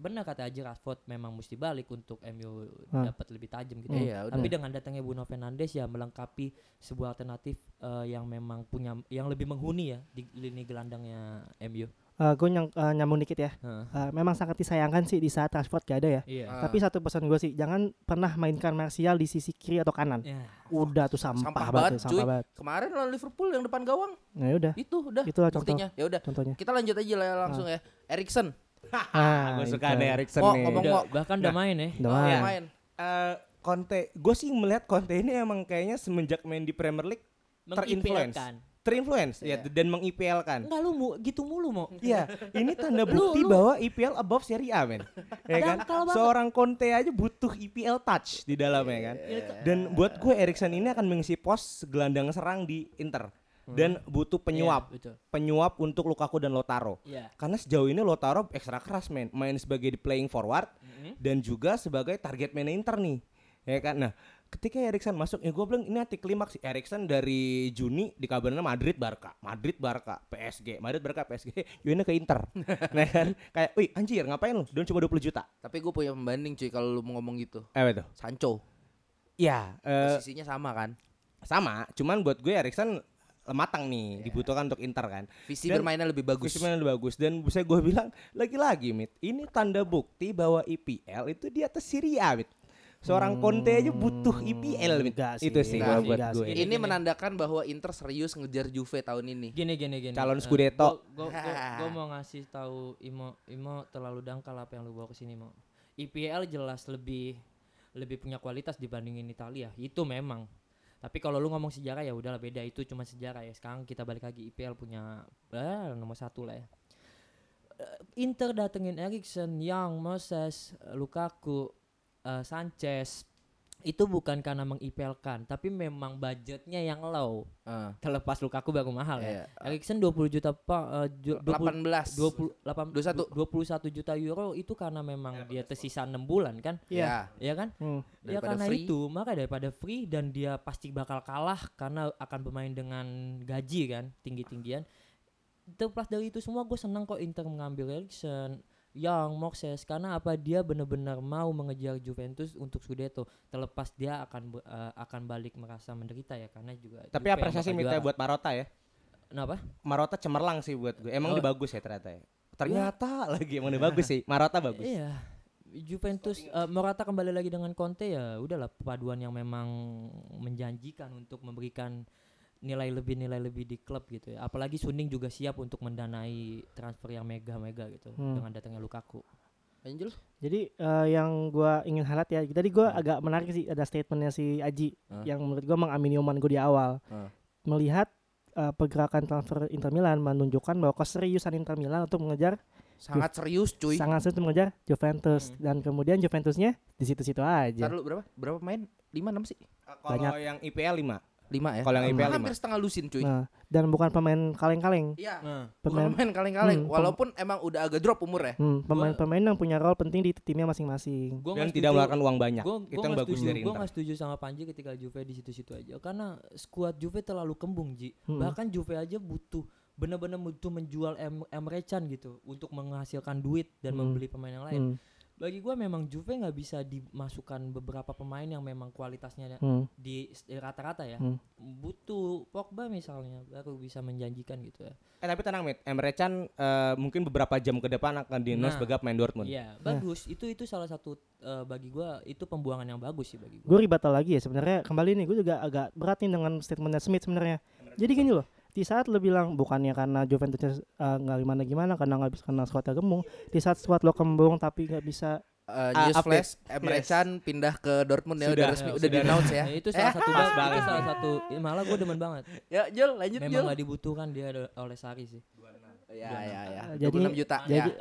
benar kata Aji Rashford memang mesti balik untuk MU Hmm. dapat lebih tajam gitu Hmm. Iya, tapi dengan datangnya Bruno Fernandes ya melengkapi sebuah alternatif eh, yang memang punya yang lebih menghuni ya di lini gelandangnya MU. Eh gua nyang- eh, nyambung dikit ya. Heeh. Eh, memang sangat disayangkan sih di saat Rashford gak ada ya. Iya. Ah, Tapi satu pesan gua sih, jangan pernah mainkan Martial di sisi kiri atau kanan. Ya. Udah tuh sampah, Sampah banget, banget, tuh, sampah cuy. banget. Kemarin lawan Liverpool yang depan gawang Nah, udah itu udah Itulah contoh. Nah. buktinya. Ya udah, contohnya. kita lanjut aja lah langsung ya. Erikson. Ah, Gue suka itu. nih Erikson Mau nih. Iya. ngomong Udah, mau bahkan udah main ya. Udah mau main. ya. main. Eh, Conte, gue sih melihat Conte ini emang kayaknya semenjak main di Premier League terinfluence, Mengipilkan. terinfluence ya dan mengipl kan. Enggak lu mu- gitu mulu mau. Iya, ini tanda bukti bahwa IPL above Serie A, men. Ya kan? Dangkal banget. Seorang Conte aja butuh IPL touch di dalamnya kan. Dan buat gue Erikson ini akan mengisi pos gelandang serang di Inter dan butuh penyuap, Hmm. Iya, betul. penyuap untuk Lukaku dan Lotaro. Iya. Karena sejauh ini Lautaro ekstra keras men, main sebagai playing forward Hmm. dan juga sebagai target man Inter nih. Ya kan? Nah, ketika Erikson masuk, ya gue bilang ini anti klimaks Erikson dari Juni dikabarnya Madrid Barca, Madrid Barca, PSG, Madrid Barca PSG, Juventus ke Inter. nah kan kayak, "Wih, anjir, ngapain lu? Don cuma 20 juta." Tapi gue punya pembanding cuy kalau lu mau ngomong gitu. Eh, betul. Sancho. Iya, eh, Posisinya sama kan. sama, cuman buat gue Erikson matang nih, dibutuhkan untuk Inter kan. Visi Dan- bermainnya lebih bagus. Fisherman lebih bagus dan bisa gue bilang lagi-lagi mit ini tanda bukti bahwa IPL itu di atas Syria mit Seorang Conte aja butuh IPL. Mit. Enggak sih, Itu sih gua enggak sih, buat enggak gue. sih. Ini gini. menandakan bahwa Inter serius ngejar Juve tahun ini. gini gini gini Calon eh, Scudetto. gua- gua- gua- gua mau ngasih tahu Imo Imo terlalu dangkal apa yang lu bawa ke sini mau IPL jelas lebih lebih punya kualitas dibandingin Italia itu memang tapi kalau lu ngomong sejarah ya udahlah beda itu cuma sejarah ya sekarang kita balik lagi IPL punya eh, nomor satu lah ya Eh, Inter datengin Erikson, Young, Moses, eh, Lukaku, eh, Sanchez itu bukan karena meng-IPL-kan kan, tapi memang budgetnya yang low Ah, terlepas Lukaku baru mahal iya. ya. Erikson 20 juta pa, eh, ju- 20 18. 20 8 21. 21 juta euro itu karena memang dia tersisa 6 bulan kan? Ya. Ya kan? Hmm. Ya Daripada karena free. itu, maka daripada free dan dia pasti bakal kalah karena akan bermain dengan gaji kan, tinggi-tinggian. Terlepas dari itu semua gue senang kok Inter mengambil Erikson, Young, Moses karena apa dia benar-benar mau mengejar Juventus untuk Scudetto. Terlepas dia akan be- eh, akan balik merasa menderita ya karena juga Tapi Juve yang apresiasi bakal minta juara. buat Marota ya. Kenapa? Marota cemerlang sih buat gue. Emang Oh. dia bagus ya ternyata ya. Ternyata lagi emang dia bagus sih. Marota bagus. Iya. Juventus eh, Morata kembali lagi dengan Conte ya udahlah paduan yang memang menjanjikan untuk memberikan nilai lebih nilai lebih di klub gitu ya. Apalagi Suning juga siap untuk mendanai transfer yang mega-mega gitu Hmm. dengan datangnya Lukaku. Ya, Angel? Jadi eh, yang gua ingin highlight ya, tadi gua agak menarik sih ada statementnya si Aji Hmm. yang menurut gua mengamini oman gua di awal. Hmm. Melihat eh, pergerakan transfer Inter Milan menunjukkan bahwa keseriusan Inter Milan untuk mengejar Sangat serius cuy. sangat serius untuk mengejar Juventus Hmm. dan kemudian Juventusnya di situ-situ aja. Ntar lu berapa? Berapa main? 5 6 sih? Kalau Banyak. yang IPL 5. 5 ya. Kalau yang IPL hampir setengah lusin cuy. Nah, dan bukan pemain kaleng-kaleng, Iya. Bukan pemain main kaleng-kaleng Hmm, pem- walaupun emang udah agak drop umur ya. hmm, pemain-pemain yang punya role penting di timnya masing-masing. Gua Dan tidak nggak setuju- mengeluarkan uang banyak. Gua, Itu yang bagus dari Gue Inter. gak setuju sama Panji ketika Juve di situ-situ aja. Karena skuad Juve terlalu kembung Ji. Hmm. Mm-mm. Bahkan Juve aja butuh benar-benar butuh menjual em Emre Can gitu untuk menghasilkan duit dan Mm. membeli pemain yang lain. Hmm, bagi gua memang Juve nggak bisa dimasukkan beberapa pemain yang memang kualitasnya hmm. di s- rata-rata ya Hmm. butuh Pogba misalnya baru bisa menjanjikan gitu ya Eh tapi tenang Mit, Emre Can eh, mungkin beberapa jam ke depan akan di Nah. sebagai pemain Dortmund. iya Eh. bagus itu itu salah satu eh, bagi gua itu pembuangan yang bagus sih bagi gua gue ribatal lagi ya sebenarnya kembali nih gue juga agak berat nih dengan statementnya Smith sebenarnya jadi gini loh di saat lo bilang bukannya karena Juventus nggak gimana gimana karena nggak bisa karena squadnya gembung di saat squad lo kembung tapi nggak bisa Ah, Eh, news update. flash Emre Yes. Can pindah ke Dortmund ya Sudah, udah resmi ya, udah di sudah. announce ya. Nah, itu Eh. salah satu pas bag- banget. itu salah satu ya, malah gua demen banget Ya Jul lanjut Jul. memang nggak dibutuhkan dia do- oleh Sari sih Ya ya ya. Jadi- 26 juta ya. jadi-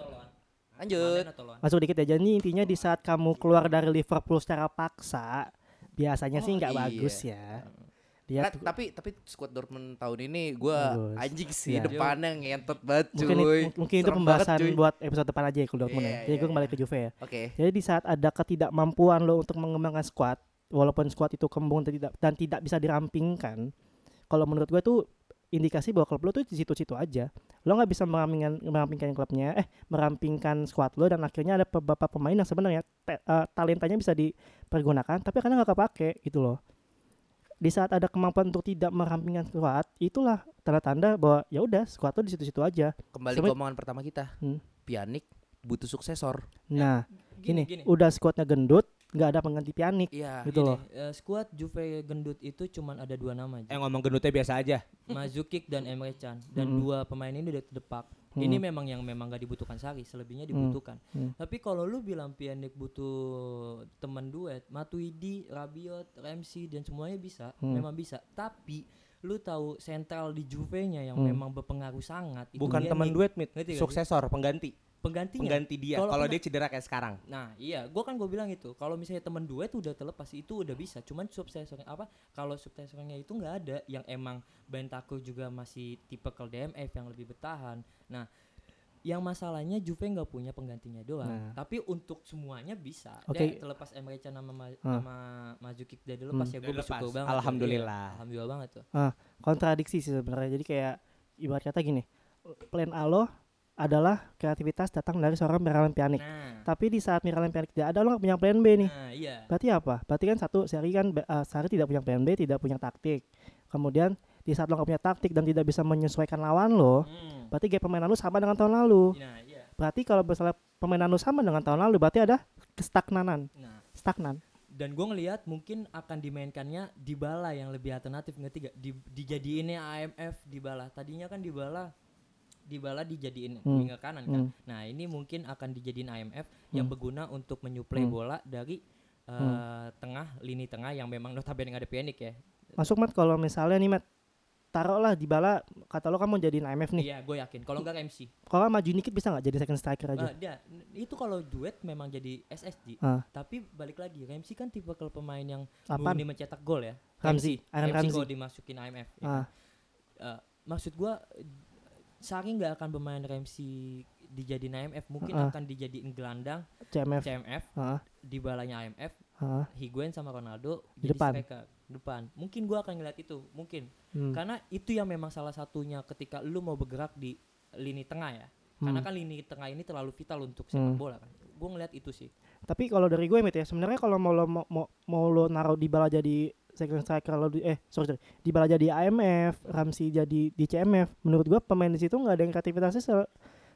Lanjut. Manen atau Loan? masuk dikit ya jadi intinya di saat kamu keluar dari Liverpool secara paksa biasanya Oh, sih nggak iya. bagus ya dia Nah, tapi tapi squad Dortmund tahun ini gue Bagus. anjing sih Iya. depannya ngentot banget cuy. mungkin it- mungkin itu Serem banget, pembahasan cuy. buat episode depan aja ya kalau Dortmund Iya, ya jadi iya, gue kembali iya. ke Juve ya Oke. Jadi di saat ada ketidakmampuan lo untuk mengembangkan squad, walaupun squad itu kembung dan tidak dan tidak bisa dirampingkan, kalau menurut gue tuh indikasi bahwa klub lo tuh di situ-situ aja. Lo nggak bisa merampingkan merampingkan klubnya, eh merampingkan squad lo dan akhirnya ada beberapa pemain yang sebenarnya te- eh, talentanya bisa dipergunakan, tapi karena nggak kepake gitu loh. Di saat ada kemampuan untuk tidak merampingkan squad, itulah tanda-tanda bahwa ya udah squad lo di situ-situ aja. Kembali Sampai- ke omongan pertama kita. Hmm. Pianik butuh suksesor. Nah, gini, gini. gini, udah squadnya gendut, nggak ada pengganti Pjanic Iya. gitu Gini, loh. eh, skuad Juve gendut itu cuman ada dua nama Ji. Eh ngomong gendutnya biasa aja. Mazukic dan Emre Can dan Mm-mm. dua pemain ini udah terdepak. Mm. Ini memang yang memang gak dibutuhkan Sari, selebihnya Mm. dibutuhkan. Mm. Tapi kalau lu bilang Pianik butuh teman duet, Matuidi, Rabiot, Ramsey dan semuanya bisa, Mm. memang bisa. Tapi lu tahu sentral di Juve-nya yang Mm. memang berpengaruh sangat itu Bukan Pjanic. teman duet Mit, Ngerti gak sih? suksesor, pengganti. penggantinya. Pengganti dia Kalau kalau kena- dia cedera kayak sekarang. Nah, iya, gua kan gue bilang itu. Kalau misalnya temen duet udah terlepas itu udah bisa. Cuman subsensornya apa? Kalau subsensornya itu nggak ada yang emang Bentaku juga masih tipe DMF yang lebih bertahan. Nah, yang masalahnya Juve nggak punya penggantinya doang. Nah. Tapi untuk semuanya bisa. Oke. Dan terlepas Emre Can sama Ma- sama Mazuki udah dilepas Hmm. ya gue Udah dilepas. bersyukur banget. Alhamdulillah. Iya, Alhamdulillah banget tuh. kontradiksi sih sebenarnya. Jadi kayak ibarat kata gini, plan A lo adalah kreativitas datang dari seorang Miralem Pjanic. Nah, Tapi di saat Miralem Pjanic tidak ada lo nggak punya plan B nih. nah iya. Berarti apa? Berarti kan satu Sari kan be- eh, Sarri tidak punya plan B, tidak punya taktik. Kemudian di saat lo nggak punya taktik dan tidak bisa menyesuaikan lawan lo, Hmm. berarti gaya permainan lo sama dengan tahun lalu. Nah, iya. Berarti kalau misalnya permainan lo sama dengan tahun lalu, berarti ada kestagnanan, Nah, stagnan. dan gue ngelihat mungkin akan dimainkannya Dybala yang lebih alternatif ngerti gak? Di, dijadiinnya AMF Dybala. Tadinya kan Dybala Dybala dijadiin Hmm. Hmm. winger kanan kan. Nah, ini mungkin akan dijadiin AMF yang berguna untuk menyuplai bola dari eh, tengah lini tengah yang memang notabene nggak ada Pjanic ya. Masuk Mat kalau misalnya nih Mat taruhlah di bala kata lo kan mau jadiin IMF nih. Iya, gue yakin. Kalau nggak MC. Kalau nggak maju dikit bisa nggak jadi second striker aja? Eh, dia- itu kalau duet memang jadi SSG. Ah. Tapi balik lagi, Ramsey kan tipe kalau pemain yang Apaan? murni mencetak gol ya. Ramsey, Aaron Ramsey Ramsey. kalau dimasukin AMF. ya Ah, kan. Eh, maksud gua eh, Sari nggak akan pemain Ramsey dijadiin AMF, mungkin Ah. akan dijadiin gelandang CMF. CMF Ah, di balanya AMF, ah, Higuain sama Ronaldo Di depan. striker depan. Mungkin gua akan ngeliat itu, mungkin. hmm. Karena itu yang memang salah satunya ketika lu mau bergerak di lini tengah ya. Karena Hmm. kan lini tengah ini terlalu vital untuk sepak Hmm. bola kan. Gue ngeliat itu sih. Tapi kalau dari gue Mit ya, sebenarnya kalau mau lo mau, mau, mau lo naruh di bala jadi second striker lo di, eh sorry, sorry di bala jadi AMF, Ramsey jadi di CMF. Menurut gue pemain di situ nggak ada yang kreativitasnya se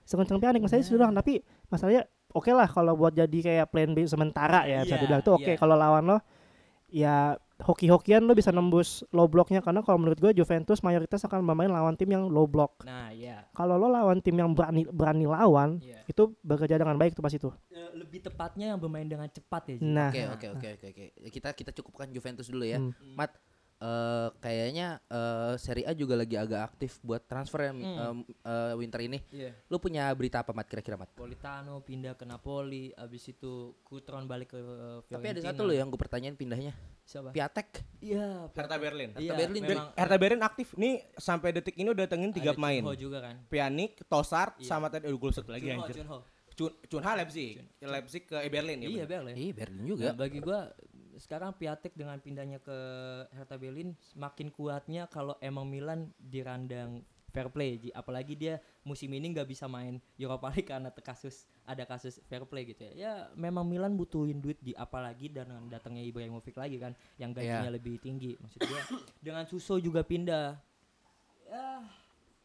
sekencang pianik Iya. misalnya sudah tapi masalahnya oke lah kalau buat jadi kayak plan B sementara ya bisa Iya, dibilang tuh oke iya. kalau lawan lo ya hoki-hokian lo bisa nembus low blocknya karena kalau menurut gue Juventus mayoritas akan bermain lawan tim yang low block Nah, ya. kalau lo lawan tim yang berani berani lawan Iya. itu bekerja dengan baik tuh pas itu Ya. Eh, lebih tepatnya yang bermain dengan cepat ya. Ji. nah Oke oke oke oke oke. Kita kita cukupkan Juventus dulu ya. Hmm. Mat eh, kayaknya eh, Serie A juga lagi agak aktif buat transfer ya mi- em, eh, winter ini. Iya. Lu punya berita apa Mat kira-kira Mat? Politano pindah ke Napoli, abis itu Kutron balik ke eh, Fiorentina. Tapi ada satu loh ya, yang gue pertanyaan pindahnya. Siapa? Piatek. Iya. Hertha Berlin. Hertha Berlin. memang Hertha Berlin aktif. Nih sampai detik ini udah datengin tiga ada pemain. Cunho juga kan. Pjanic, Tosart, Iya. sama tadi aduh gol satu lagi Cunho, anjir. Cunho. Cun Cunha Leipzig. Leipzig ke Berlin ya. Iya, bener. Berlin. Ih Berlin Nah, juga. bagi gua sekarang Piatek dengan pindahnya ke Hertha Berlin makin kuatnya kalau emang Milan dirandang fair play Ji. apalagi dia musim ini nggak bisa main Europa League karena te- kasus ada kasus fair play gitu ya. Ya memang Milan butuhin duit di apalagi dan dengan datangnya Ibrahimovic lagi kan yang Iya. gajinya lebih tinggi maksud gua. dengan Suso juga pindah. Ya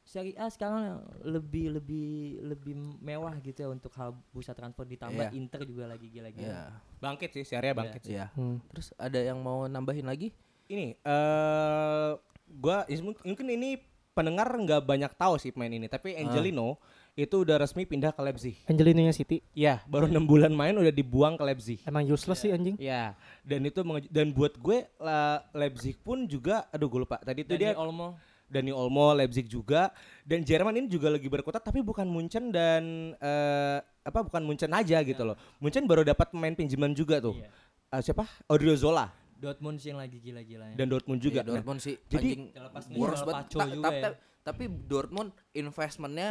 Serie A sekarang lebih lebih lebih mewah gitu ya untuk hal bursa transfer ditambah Iya. Inter juga lagi gila-gila. Iya. Bangkit sih, Serie A bangkit sih. Iya. Hmm. Terus ada yang mau nambahin lagi? Ini eh gua is- mungkin ini pendengar nggak banyak tahu sih pemain ini, tapi Ah. Angelino itu udah resmi pindah ke Leipzig. Angelinonya City Iya, baru enam bulan main udah dibuang ke Leipzig. emang useless sih anjing Iya, dan itu menge- dan buat gue La- Leipzig pun juga aduh gue lupa. Tadi itu dia Dani Olmo Dani Olmo Leipzig juga dan Jerman ini juga lagi berkutat tapi bukan Munchen dan eh, apa bukan Munchen aja gitu Iya. loh. Munchen baru dapat pemain pinjaman juga tuh. Iya. Eh, siapa? Odriozola Dortmund sih yang lagi gila-gilanya. dan Dortmund juga. Iya, Nah, Dortmund sih. jadi- anjing Terlepas nih, boros jual banget. Paco Ta- juga ta- ya. ta- Tapi Dortmund investmentnya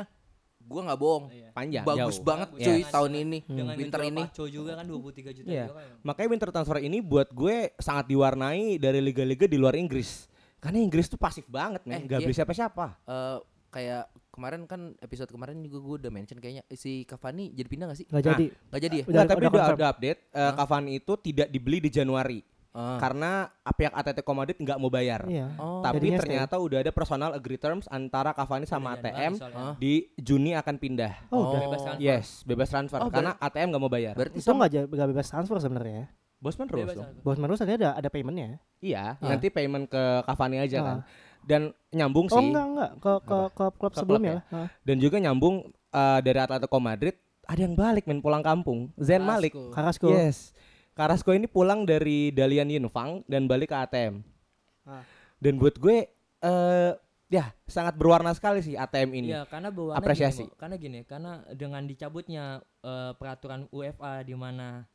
gue nggak bohong. Iya. Nah, panjang Bagus jauh. banget Bagus cuy banget. tahun ini, Iya. hmm, Dengan winter ngejual ini. Paco juga kan 23 juta Iya. euro ya. Makanya winter transfer ini buat gue sangat diwarnai dari liga-liga di luar Inggris. Karena Inggris tuh pasif banget Eh, men, nggak iya. beli siapa-siapa. Eh, kayak kemarin kan episode kemarin juga gue udah mention kayaknya eh, si Cavani jadi pindah gak sih? nggak Nah. jadi Gak jadi ya? Udah- Nah, tapi udah udah confirm. ada update, eh, Cavani itu tidak dibeli di Januari Ah. karena pihak Atletico Madrid nggak mau bayar. iya Oh. Tapi Jadinya stay. ternyata udah ada personal agree terms antara Cavani sama Udah ATM diantar soalnya. Hah? di Juni akan pindah. oh, udah Bebas transfer. Yes, bebas transfer Oh, karena ATM nggak mau bayar. Berarti itu itu nggak jadi nggak bebas transfer sebenarnya Bosman terus Bebas dong. transfer. bos manusia ada ada paymentnya Iya, Ah. nanti payment ke Cavani aja Ah. kan. Dan nyambung oh sih enggak enggak ke ke ke klub Ke sebelumnya klub lah Hah. dan juga nyambung eh, dari Atletico Madrid ada yang balik men pulang kampung. Zen Malik. kan Carrasco Yes. Carrasco ini pulang dari Dalian Yunfang dan balik ke ATM. Ah. Dan buat gue eh ya sangat berwarna sekali sih ATM ini. Iya, karena bawaannya gini, Apresiasi. Bo. karena gini, karena dengan dicabutnya eh, peraturan UEFA di mana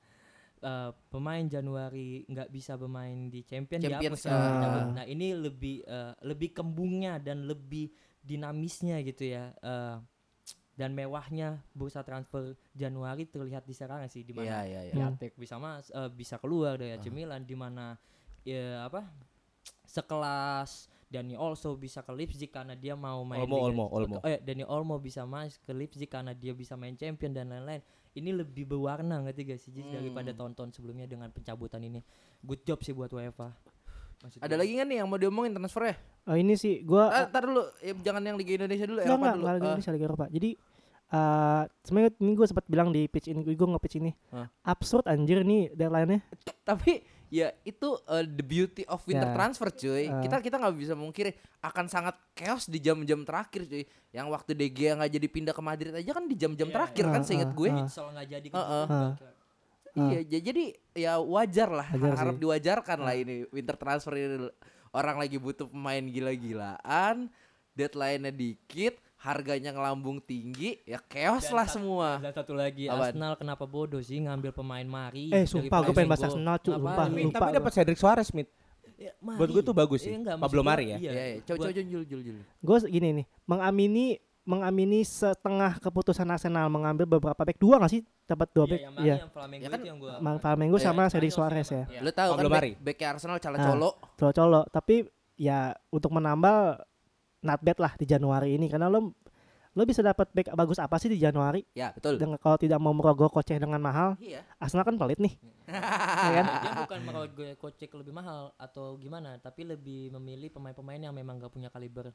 eh, pemain Januari nggak bisa bermain di Champion Champions, dihapus ya, ah. dicabut. Nah, ini lebih eh, lebih kembungnya dan lebih dinamisnya gitu ya. eh, dan mewahnya bursa transfer Januari terlihat di Serang sih di Iya, mana iya, iya. Piatek bisa mas eh, bisa keluar dari AC Milan di mana ya apa sekelas Dani Olmo bisa ke Leipzig karena dia mau main Olmo, Liga- Olmo, Olmo. Oh, ya, Dani Olmo bisa mas ke Leipzig karena dia bisa main champion dan lain-lain ini lebih berwarna ngerti gak sih Jis, daripada tahun-tahun sebelumnya dengan pencabutan ini good job sih buat UEFA Maksud ada gua. lagi nggak nih yang mau diomongin transfernya? Oh, ini sih gua Ah, ntar dulu, Ya, jangan yang Liga Indonesia dulu, Enggak, Eropa enggak, dulu. enggak, Ah, Liga Indonesia, Liga Eropa. Jadi eh sebenarnya ini gue sempat bilang di pitch ini, gue nge-pitch ini. Hah? Absurd anjir nih deadline-nya. tapi ya itu uh, the beauty of winter Ya. transfer cuy. Uh. Kita kita nggak bisa mungkiri akan sangat chaos di jam-jam terakhir cuy. Yang waktu De Gea nggak jadi pindah ke Madrid aja kan di jam-jam Iya, terakhir iya. kan Ah, seingat ah, gue. Eh, ah. Soal nggak jadi kan? Heeh. Ah. Iya, ja- jadi ya wajar lah, Wajar harap sih. diwajarkan lah ini winter transfer ini. Orang lagi butuh pemain gila-gilaan, deadline-nya dikit, harganya ngelambung tinggi, ya chaos Dan lah sat- semua. Dan satu lagi Apaan? Arsenal kenapa bodoh sih ngambil pemain Mari? Eh, sumpah, daripada gua pengen bahas Zengo. Arsenal, cu, Ngapain? sumpah, Tapi, lupa tapi gua. dapat Cedric Suarez Smith. Ya, Mari. Ah, Buat gua tuh bagus sih. enggak, Pablo maksud gua- Mari ya? Iya, Ya, ya. Coba buat- coba jul jul jul. Gue gini nih, mengamini mengamini setengah keputusan Arsenal mengambil beberapa back dua nggak sih? Dapat dua Iya, back. yang Mari, Iya. yang Flamengo Ya kan, itu yang gua. Mang Palmengo Iya, sama Spanyol Cedric sih Suarez emang. ya. Iya. Lu tahu Pablo kan Mari. back, backnya Arsenal Cala Ah. Colo. Colo-colo, tapi ya untuk menambal not bad lah di Januari ini karena lo lo bisa dapat back bagus apa sih di Januari Ya, betul. dengan kalau tidak mau merogoh kocek dengan mahal Iya. Arsenal kan pelit nih ya kan? Dia bukan merogoh kocek lebih mahal atau gimana, tapi lebih memilih pemain-pemain yang memang gak punya kaliber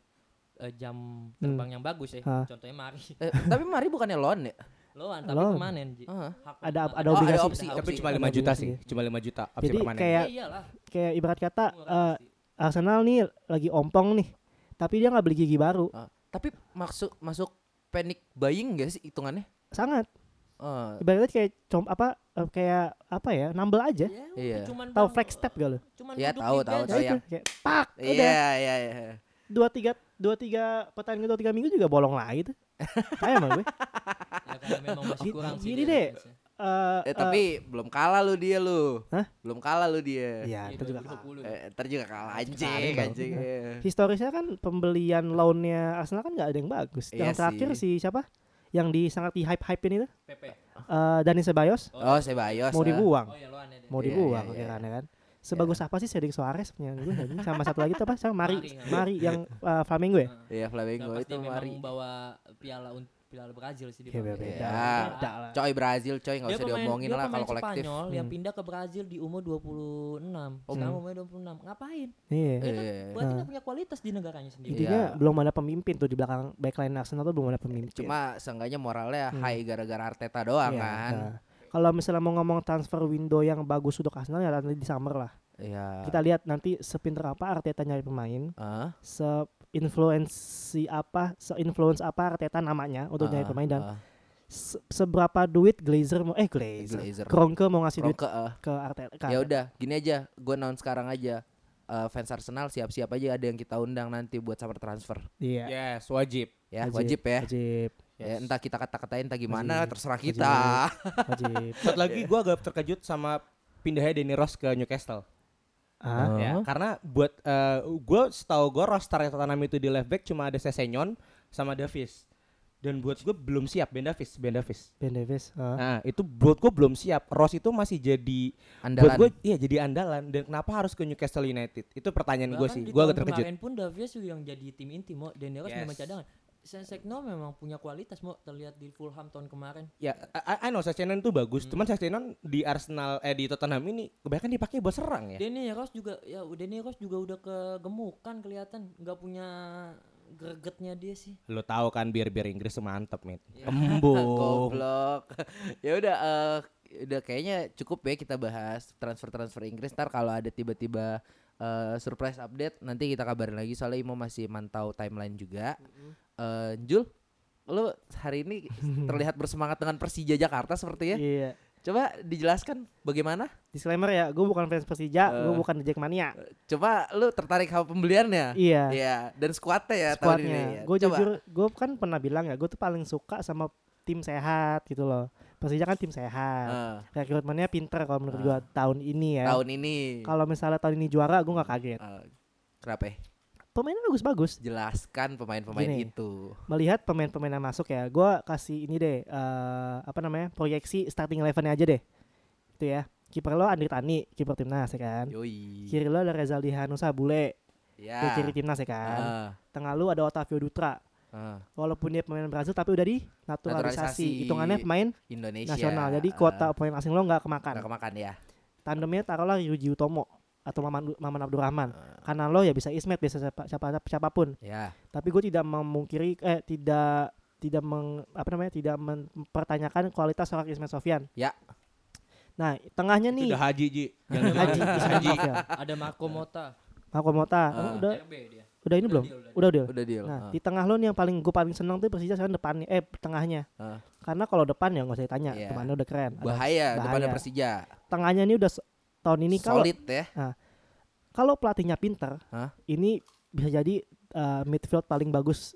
eh, jam Hmm. terbang yang bagus ya. Ah. Contohnya Mari. Eh, tapi Mari bukannya loan ya? Loan tapi Loan. kemanen. Ji. Heeh. Hak Ada- pemain. ada Oh, obligasi. ada opsi. Ada opsi. Tapi cuma 5 Ada juta obligasi sih, ya. cuma 5 juta opsi jadi permanen. Ya kayak iyalah. kayak ibarat kata murah eh, pasti. Arsenal nih lagi ompong nih tapi dia nggak beli gigi baru Ah, tapi masuk masuk panic buying gak sih hitungannya? sangat Eh, ibaratnya kayak com apa eh, kayak apa ya nambel aja Ya, Iya. cuman tahu bang- flex step gak lo Cuman Ya, duduk tahu, tahu, di tahu, bench. Nah, ya. itu, kayak pak udah Iya, iya, iya. dua tiga dua tiga pertandingan dua tiga minggu juga bolong lagi tuh kayak sama gue Ya, karena memang masih Gini- kurang sih gini dia deh. defense-nya. Eh, Eh, eh, tapi belum kalah lu dia lu. Hah? Belum kalah lu dia. ya Iya, itu juga 2020. Eh, ntar juga kalah Kemarin anjing baru. anjing. iya. historisnya kan pembelian loannya Arsenal kan nggak ada yang bagus Iya yang terakhir si siapa yang di sangat di hype hype ini tuh PP. eh Dani Ceballos Oh, Sebayos. ah. mau dibuang ya. Oh ya lo aneh deh. mau Iya, dibuang iya, iya. akhirnya kan sebagus apa sih Cedric Suarez punya gue anjing. sama satu lagi tuh apa sama Mari, Mari Mari. Mari yang eh, Ah. Flamengo ya Iya, Flamengo Nggak, pasti itu memang mari. membawa piala un- piala Brazil sih di Iya, Flamengo. beda. Iya. Beda lah. Coy Brazil, coy nggak Dia usah pemain- diomongin dia lah pemain kalau kolektif. Spanyol yang Hmm. pindah ke Brazil di umur 26. Oh, Sekarang Hmm. umurnya 26. Ngapain? iya Dia kan Iya. berarti Nah. nggak punya kualitas di negaranya sendiri. intinya Iya. belum ada pemimpin tuh di belakang backline Arsenal tuh belum ada pemimpin Cuma seenggaknya moralnya Hmm. high gara-gara Arteta doang Iya, kan. nah. kalau misalnya mau ngomong transfer window yang bagus untuk Arsenal ya nanti di summer lah Iya. kita lihat nanti sepinter apa Arteta nyari pemain Hah? se-influensi apa se-influence apa Arteta namanya untuk nyari Ah, pemain dan ah. se- seberapa duit Glazer mau eh Glazer, Glazer. Kroenke mau ngasih duit Kroenke, eh. ke Arteta kan? ke Ya Arteta. udah, gini aja, gue announce sekarang aja. Eh, fans Arsenal siap-siap aja ada yang kita undang nanti buat summer transfer. iya Yes, wajib. Ya, Wajib, wajib, ya. wajib Ya, entah kita kata-katain entah gimana, Wajib. terserah Wajib. kita. wajib Satu lagi gua agak terkejut sama pindahnya Danny Rose ke Newcastle. ah Ya, karena buat eh, gua setahu gua roster Tottenham itu di left back cuma ada Sesenyon sama Davis. Dan buat gua belum siap Ben Davis, Ben Davis. Ben Davis ah. Nah, itu buat gua belum siap. Rose itu masih jadi Andalan. buat gua iya jadi andalan dan kenapa harus ke Newcastle United? Itu pertanyaan gua sih. Bahkan di Gua agak tahun terkejut. Kemarin pun Davies juga yang jadi tim inti mau dan dia Yes. memang cadangan. Sensekno memang punya kualitas mau terlihat di Fulham tahun kemarin. Ya, I, I know Sesenyon tuh bagus, cuman Sesenyon di Arsenal eh di Tottenham ini kebanyakan dipakai buat serang ya. Danny Rose juga ya Danny Rose juga udah kegemukan kelihatan nggak punya gregetnya dia sih. Lo tahu kan bir-bir Inggris tuh mantep, Mit. Ya. Embung. Goblok. ya udah eh, udah kayaknya cukup ya kita bahas transfer-transfer Inggris. Ntar kalau ada tiba-tiba eh, surprise update nanti kita kabarin lagi soalnya Imo masih mantau timeline juga. Eh, Jul, lu hari ini terlihat bersemangat dengan Persija Jakarta sepertinya. iya Coba dijelaskan bagaimana? disclaimer ya gue bukan fans Persija gue Eh. bukan Jackmania Coba lu tertarik sama pembeliannya? iya Iya, dan skuadnya ya tahun ini. squadnya. ya. Gue Coba. jujur, gue kan pernah bilang ya, gue tuh paling suka sama tim sehat gitu loh. Persija kan tim sehat. Eh, Rekrutmennya pinter kalau menurut Ah. gue tahun ini ya. tahun ini. Kalau misalnya tahun ini juara, gue nggak kaget. Eh, kenapa? ya? Pemainnya bagus-bagus. Jelaskan pemain-pemain Gini. itu. Melihat pemain-pemain yang masuk ya, gue kasih ini deh, eh, apa namanya, proyeksi starting eleven aja deh. Itu ya. Kiper lo Andri Tani, kiper timnas ya kan. Yoi. Kiri lo ada Rezaldi Hanusa Bule, Ya. dia kiri timnas ya kan. Tengah lu ada Otavio Dutra. Ah, ah. Walaupun dia pemain Brazil tapi udah di naturalisasi. Naturalisasi. Hitungannya pemain Indonesia. nasional. Jadi Ah, kuota pemain asing lo nggak Iya. kemakan. nggak kemakan ya. Tandemnya taruhlah Ryuji Utomo atau Maman, Maman Abdurrahman. Ah. Karena lo ya bisa Ismet bisa siapa, siapa siapapun. Ya. Tapi gue tidak memungkiri eh tidak tidak meng, apa namanya tidak mempertanyakan kualitas seorang Ismet Sofian. Ya. Nah, tengahnya Itu nih udah haji Ji. Yang Haji, Haji. maaf ya. Ada Marco Mota. Marco Mota. Ah. udah RB dia. udah ini Udah belum? deal, udah Udah deal. Udah deal. Nah, Ah. di tengah lo nih yang paling gue paling seneng tuh Persija sekarang depannya eh tengahnya. Ah. Karena kalau depan ya nggak usah ditanya, Iya. depannya udah keren. Ada- Bahaya, depannya bahaya. Persija. Tengahnya ini udah se- tahun ini kan kalau Solid ya. kalau pelatihnya pinter, Hah? ini bisa jadi eh, midfield paling bagus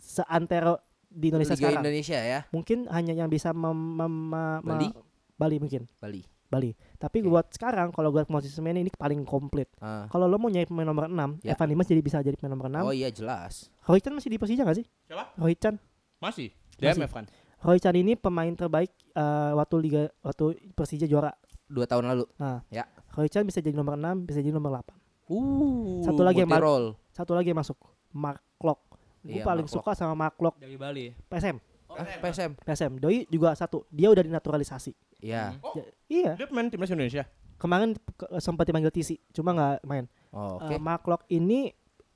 seantero di Indonesia Liga sekarang. Indonesia ya. Mungkin hanya yang bisa mem- mem- ma- ma- Bali? Bali mungkin, Bali. Bali. Tapi Oke. buat sekarang kalau gue mau sistemnya ini, ini paling komplit. Ah. Kalau lo mau nyari pemain nomor 6, Ya. Evan Dimas jadi bisa jadi pemain nomor 6. Oh iya jelas. Roy Chan masih di Persija gak sih? Siapa? Roy Chan. Masih. Masih. DMF kan. Roy Chan ini pemain terbaik eh, waktu liga waktu Persija juara. Dua tahun lalu. Nah, Ya. Roy Chan bisa jadi nomor 6, bisa jadi nomor 8. Uh, Satu lagi yang multi baru. role. Satu lagi yang masuk, Mark Locke. Gue Iya, paling Mark suka sama Mark Locke Dari Bali. PSM. Ah, PSM. PSM. Doi juga satu, dia udah dinaturalisasi. Ya. Oh. Ja- iya, Dia pemain timnas Indonesia. kemarin ke- sempat dipanggil TC, cuma nggak main. Oh, Eh, Oke. Mark Locke ini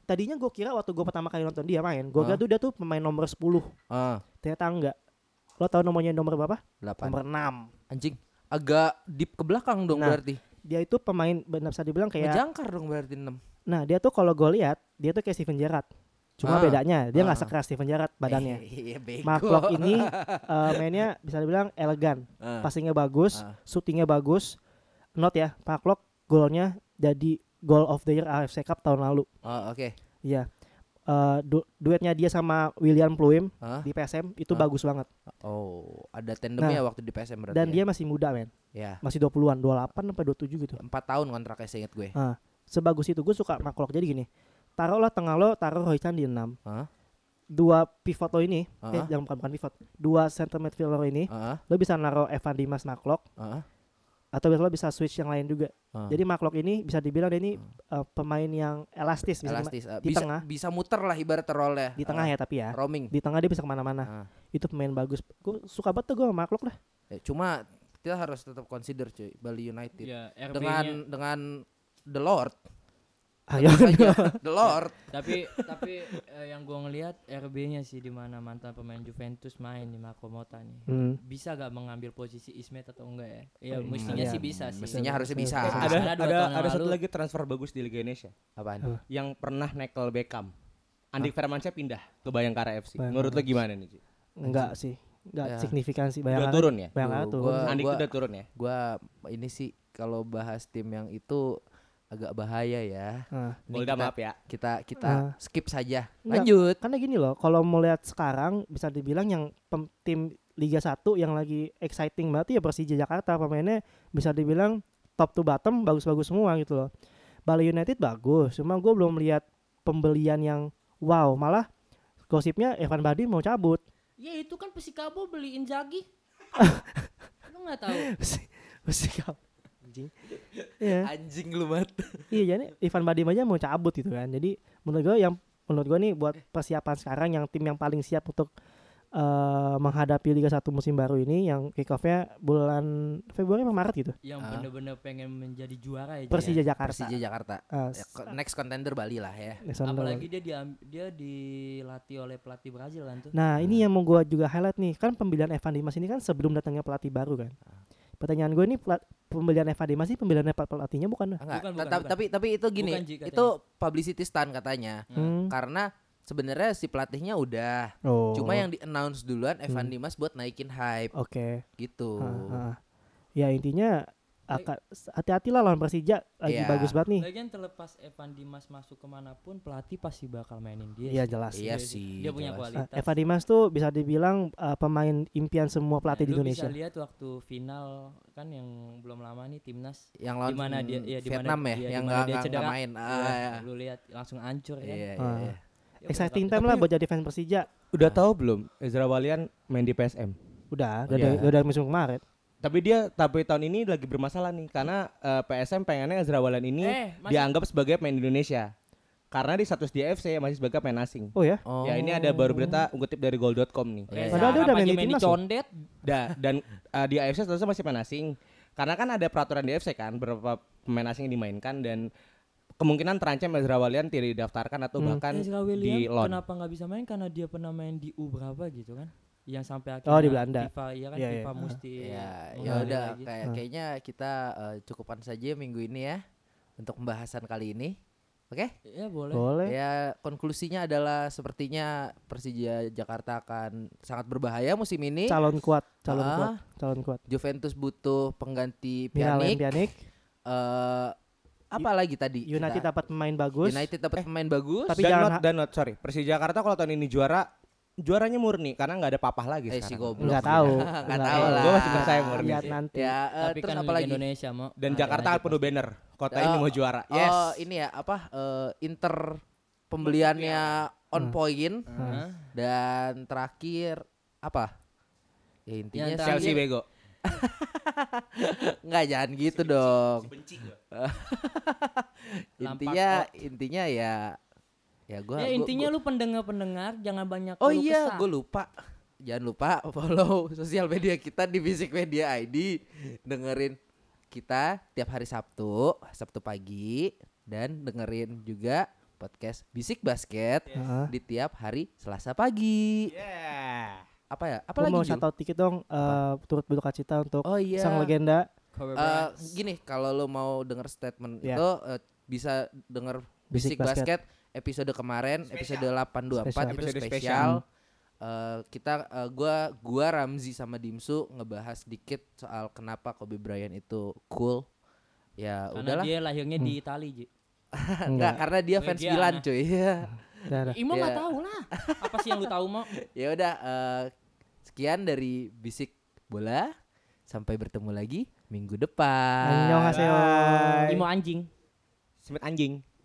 tadinya gue kira waktu gue pertama kali nonton dia main, gue kira Ah. tuh dia tuh pemain nomor 10. Ah, Ternyata enggak. Lo tau nomornya nomor berapa? delapan. Nomor 6. Anjing. Agak deep ke belakang dong Nah, iya. berarti. Dia itu pemain benar bisa dibilang kayak Ngejangkar dong berarti 6. Nah, dia tuh kalau gue lihat, dia tuh kayak Steven Gerrard. Ah. Cuma bedanya dia nggak Ah. sekeras Steven Gerrard badannya. Iya, bego. Mark Locke ini eh, mainnya bisa dibilang elegan. Ah, passingnya bagus, Ah. shootingnya bagus. Not ya, Pak Klok golnya jadi goal of the year AFC Cup tahun lalu. oh, oke. Iya. Eh, du- duetnya dia sama William Pluim Ah, di PSM itu Ah. bagus banget. Oh, ada tandemnya waktu di PSM berarti. Nah. Dan ya? dia masih muda, men. ya. Masih 20-an, 28 sampai 27 gitu. Ah, 4 tahun kontraknya seingat gue. Sebagus itu gue suka Pak Klok. Jadi gini, taruhlah tengah lo, taruh Roy Chan di 6. Ah. Dua pivot lo ini, eh Ah. jangan bukan, bukan pivot. Dua center midfield lo ini, Heeh, lo bisa naruh Evan Dimas Maklok heeh. atau biasanya lo bisa switch yang lain juga. Ah. Jadi Maklok ini bisa dibilang dia ini eh, pemain yang elastis, bisa Elastis. eh, di bisa tengah. bisa muter lah ibarat role di tengah ya tapi ya. Roaming. Di tengah dia bisa kemana-mana. Ah. Itu pemain bagus. Gue suka banget tuh gue sama Maklok dah. Ya, cuma kita harus tetap consider cuy Bali United Ya, RB dengan dengan The Lord. Ayo. Iya, Saja, The Lord. tapi tapi eh, yang gua ngelihat RB-nya sih di mana mantan pemain Juventus main di Marco Mota nih. Hmm. Bisa gak mengambil posisi Ismet atau enggak ya? Ya Hmm, mestinya iya. sih bisa sih. Mestinya harusnya bisa. Ada- Ada Karena dua ada tahun yang ada satu lalu- lagi transfer bagus di Liga Indonesia Apaan? yang pernah nekel Beckham. Andik Firmansyah pindah ke Bayangkara FC. Bayangkara Menurut lo gimana nih? Ji? Enggak sih. Enggak Ya. signifikan sih Udah bayangkan. turun ya? Bayangkan Duh, tuh. gua- Andik udah turun ya? Gua ini sih kalau bahas tim yang itu agak bahaya ya. Ini Golda kita- maaf ya. Kita kita Ah. skip saja. Enggak. Lanjut. Karena gini loh, kalau mau lihat sekarang bisa dibilang yang pem- tim Liga 1 yang lagi exciting banget tuh ya Persija Jakarta pemainnya bisa dibilang top to bottom bagus-bagus semua gitu loh. Bali United bagus, cuma gue belum lihat pembelian yang wow, malah gosipnya Evan Badi mau cabut. Ya itu kan Persikabo beli Inzaghi. Lu nggak tahu. Sikap. Anjing. Iya, Anjing lu banget. iya jadi Evan Badi aja mau cabut gitu kan. Jadi menurut gue yang menurut gue nih buat persiapan sekarang yang tim yang paling siap untuk eh, menghadapi Liga 1 musim baru ini yang kick off-nya bulan Februari atau Maret gitu. Yang Ah. bener-bener pengen menjadi juara ya. Ji. Persija Jakarta. Persija Jakarta. Eh, Ya, ko- Next contender Bali lah ya. next on the- Apalagi dia diam- dia dilatih oleh pelatih Brazil kan tuh. Nah, Hmm. ini yang mau gue juga highlight nih. Kan pembelian Evan Dimas ini kan sebelum datangnya pelatih baru kan. Ah. Pertanyaan gue ini pelat- pembelian Evan Dimas ini pembelian pe- pelatihnya Ah, bukan? Enggak. ta- Bukan, bukan, ta- bukan. Tapi tapi itu gini, Bukan, Ji, katanya. itu publicity stunt katanya. Hmm. Karena sebenarnya si pelatihnya udah, Oh. cuma yang di announce duluan Evan Dimas buat naikin hype Oke. gitu. Ah, ah. Ya intinya akan hati-hatilah lawan Persija lagi Iya. bagus banget nih. Lagian terlepas Evan Dimas masuk kemanapun pelatih pasti bakal mainin dia. Iya sih. jelas. Iya Dia sih, Dia punya jelas. Ah, kualitas. Evan Dimas tuh bisa dibilang eh, pemain impian semua Iya, Nah, pelatih di lu Indonesia. bisa lihat waktu final kan yang belum lama nih timnas Yang lawan di mana dia ya, di mana Vietnam ya, dia- yang di nggak mana dia nggak- nggak cedera. main. Ah, Iya, iya. lu lihat langsung hancur kan. Iya, Ah. iya, iya. Ya, Exciting berkat- time lah buat jadi fans Persija. Udah tahu belum Ezra Walian main di PSM? Oh, Udah, udah Iya. dari, udah dari musim kemarin. Tapi dia tapi tahun ini lagi bermasalah nih karena eh, PSM pengennya Ezra Walian ini Eh, masih- dianggap sebagai pemain Indonesia. Karena di status di FC masih sebagai pemain asing. Oh ya. Oh. Ya ini ada baru berita ngutip dari goal.com nih. Reza Padahal dia udah Arab main di aja timnas loh. condet. Da- dan eh, di AFC statusnya masih pemain asing. Karena kan ada peraturan di AFC kan berapa pemain asing yang dimainkan dan kemungkinan terancam Ezra Walian tidak didaftarkan atau bahkan Hmm. Ezra Kan di William loan. kenapa nggak bisa main karena dia pernah main di U berapa gitu kan? yang sampai akhirnya Oh, di Belanda. FIFA iya kan Iya, iya. FIFA Ah. mesti gitu. Ya, ya mengalir udah lagi. kayak Ah. kayaknya kita eh, cukupan saja minggu ini ya untuk pembahasan kali ini. Oke? Iya, boleh. Boleh. Ya, konklusinya adalah sepertinya Persija Jakarta akan sangat berbahaya musim ini. Calon kuat, calon Ah. kuat, calon kuat. Juventus butuh pengganti Miralem Pjanic. Pjanic, Eh, apa lagi tadi? United kita? dapat pemain bagus. Iya. Eh, United dapat pemain bagus. tapi dan jangan not, ha- dan not, sorry. Persija Jakarta kalau tahun ini juara, juaranya murni karena nggak ada papah lagi Eh, si sekarang. goblok. Nggak tahu. Nggak Nggak tahu tahu. lah. Gua masih percaya murni lihat sih. nanti. Ya, eh, Tapi terus kan apa Liga lagi? Indonesia Dan mau Ah, Nah, ada Jakarta lagi penuh pasti. banner. Kota Eh, ini mau juara. Yes. iya, Oh, ini ya apa eh, Inter pembeliannya on Hmm. point Hah? Ya, dan terakhir apa? Ya intinya Yang sih Chelsea bego. nggak jangan gitu dong. intinya intinya ya ya gua ya gua- intinya gua- lu pendengar-pendengar jangan banyak Oh keluh iya, kesah. gue lupa. Jangan lupa follow sosial media kita di Bisik Media ID. Dengerin kita tiap hari Sabtu, Sabtu pagi dan dengerin juga podcast Bisik Basket Heeh. di tiap hari Selasa pagi. Yeah. Apa ya? Apa Iya. Gua lagi? mau Jul? satu tiket dong eh, turut berduka cita untuk Oh iya. sang legenda Eh, Kobe Bryant. gini, kalau lo mau denger statement Ya. itu eh, bisa denger Bisik, Bisik Basket. episode kemarin, episode 824 Spesial. itu Episode spesial. spesial. Eh, kita eh, gua gua Ramzi sama Dimsu ngebahas dikit soal kenapa Kobe Bryant itu cool. Ya Karena udahlah. dia lahirnya di Itali, Ji. Enggak, karena dia fans Legian, Milan, ah. cuy. Iya. dan Imo nggak Iya. tahu lah. Apa sih yang lu tahu mau? ya udah eh, sekian dari Bisik Bola. Sampai bertemu lagi minggu depan. Annyeonghaseyo. Imo anjing. Smith anjing.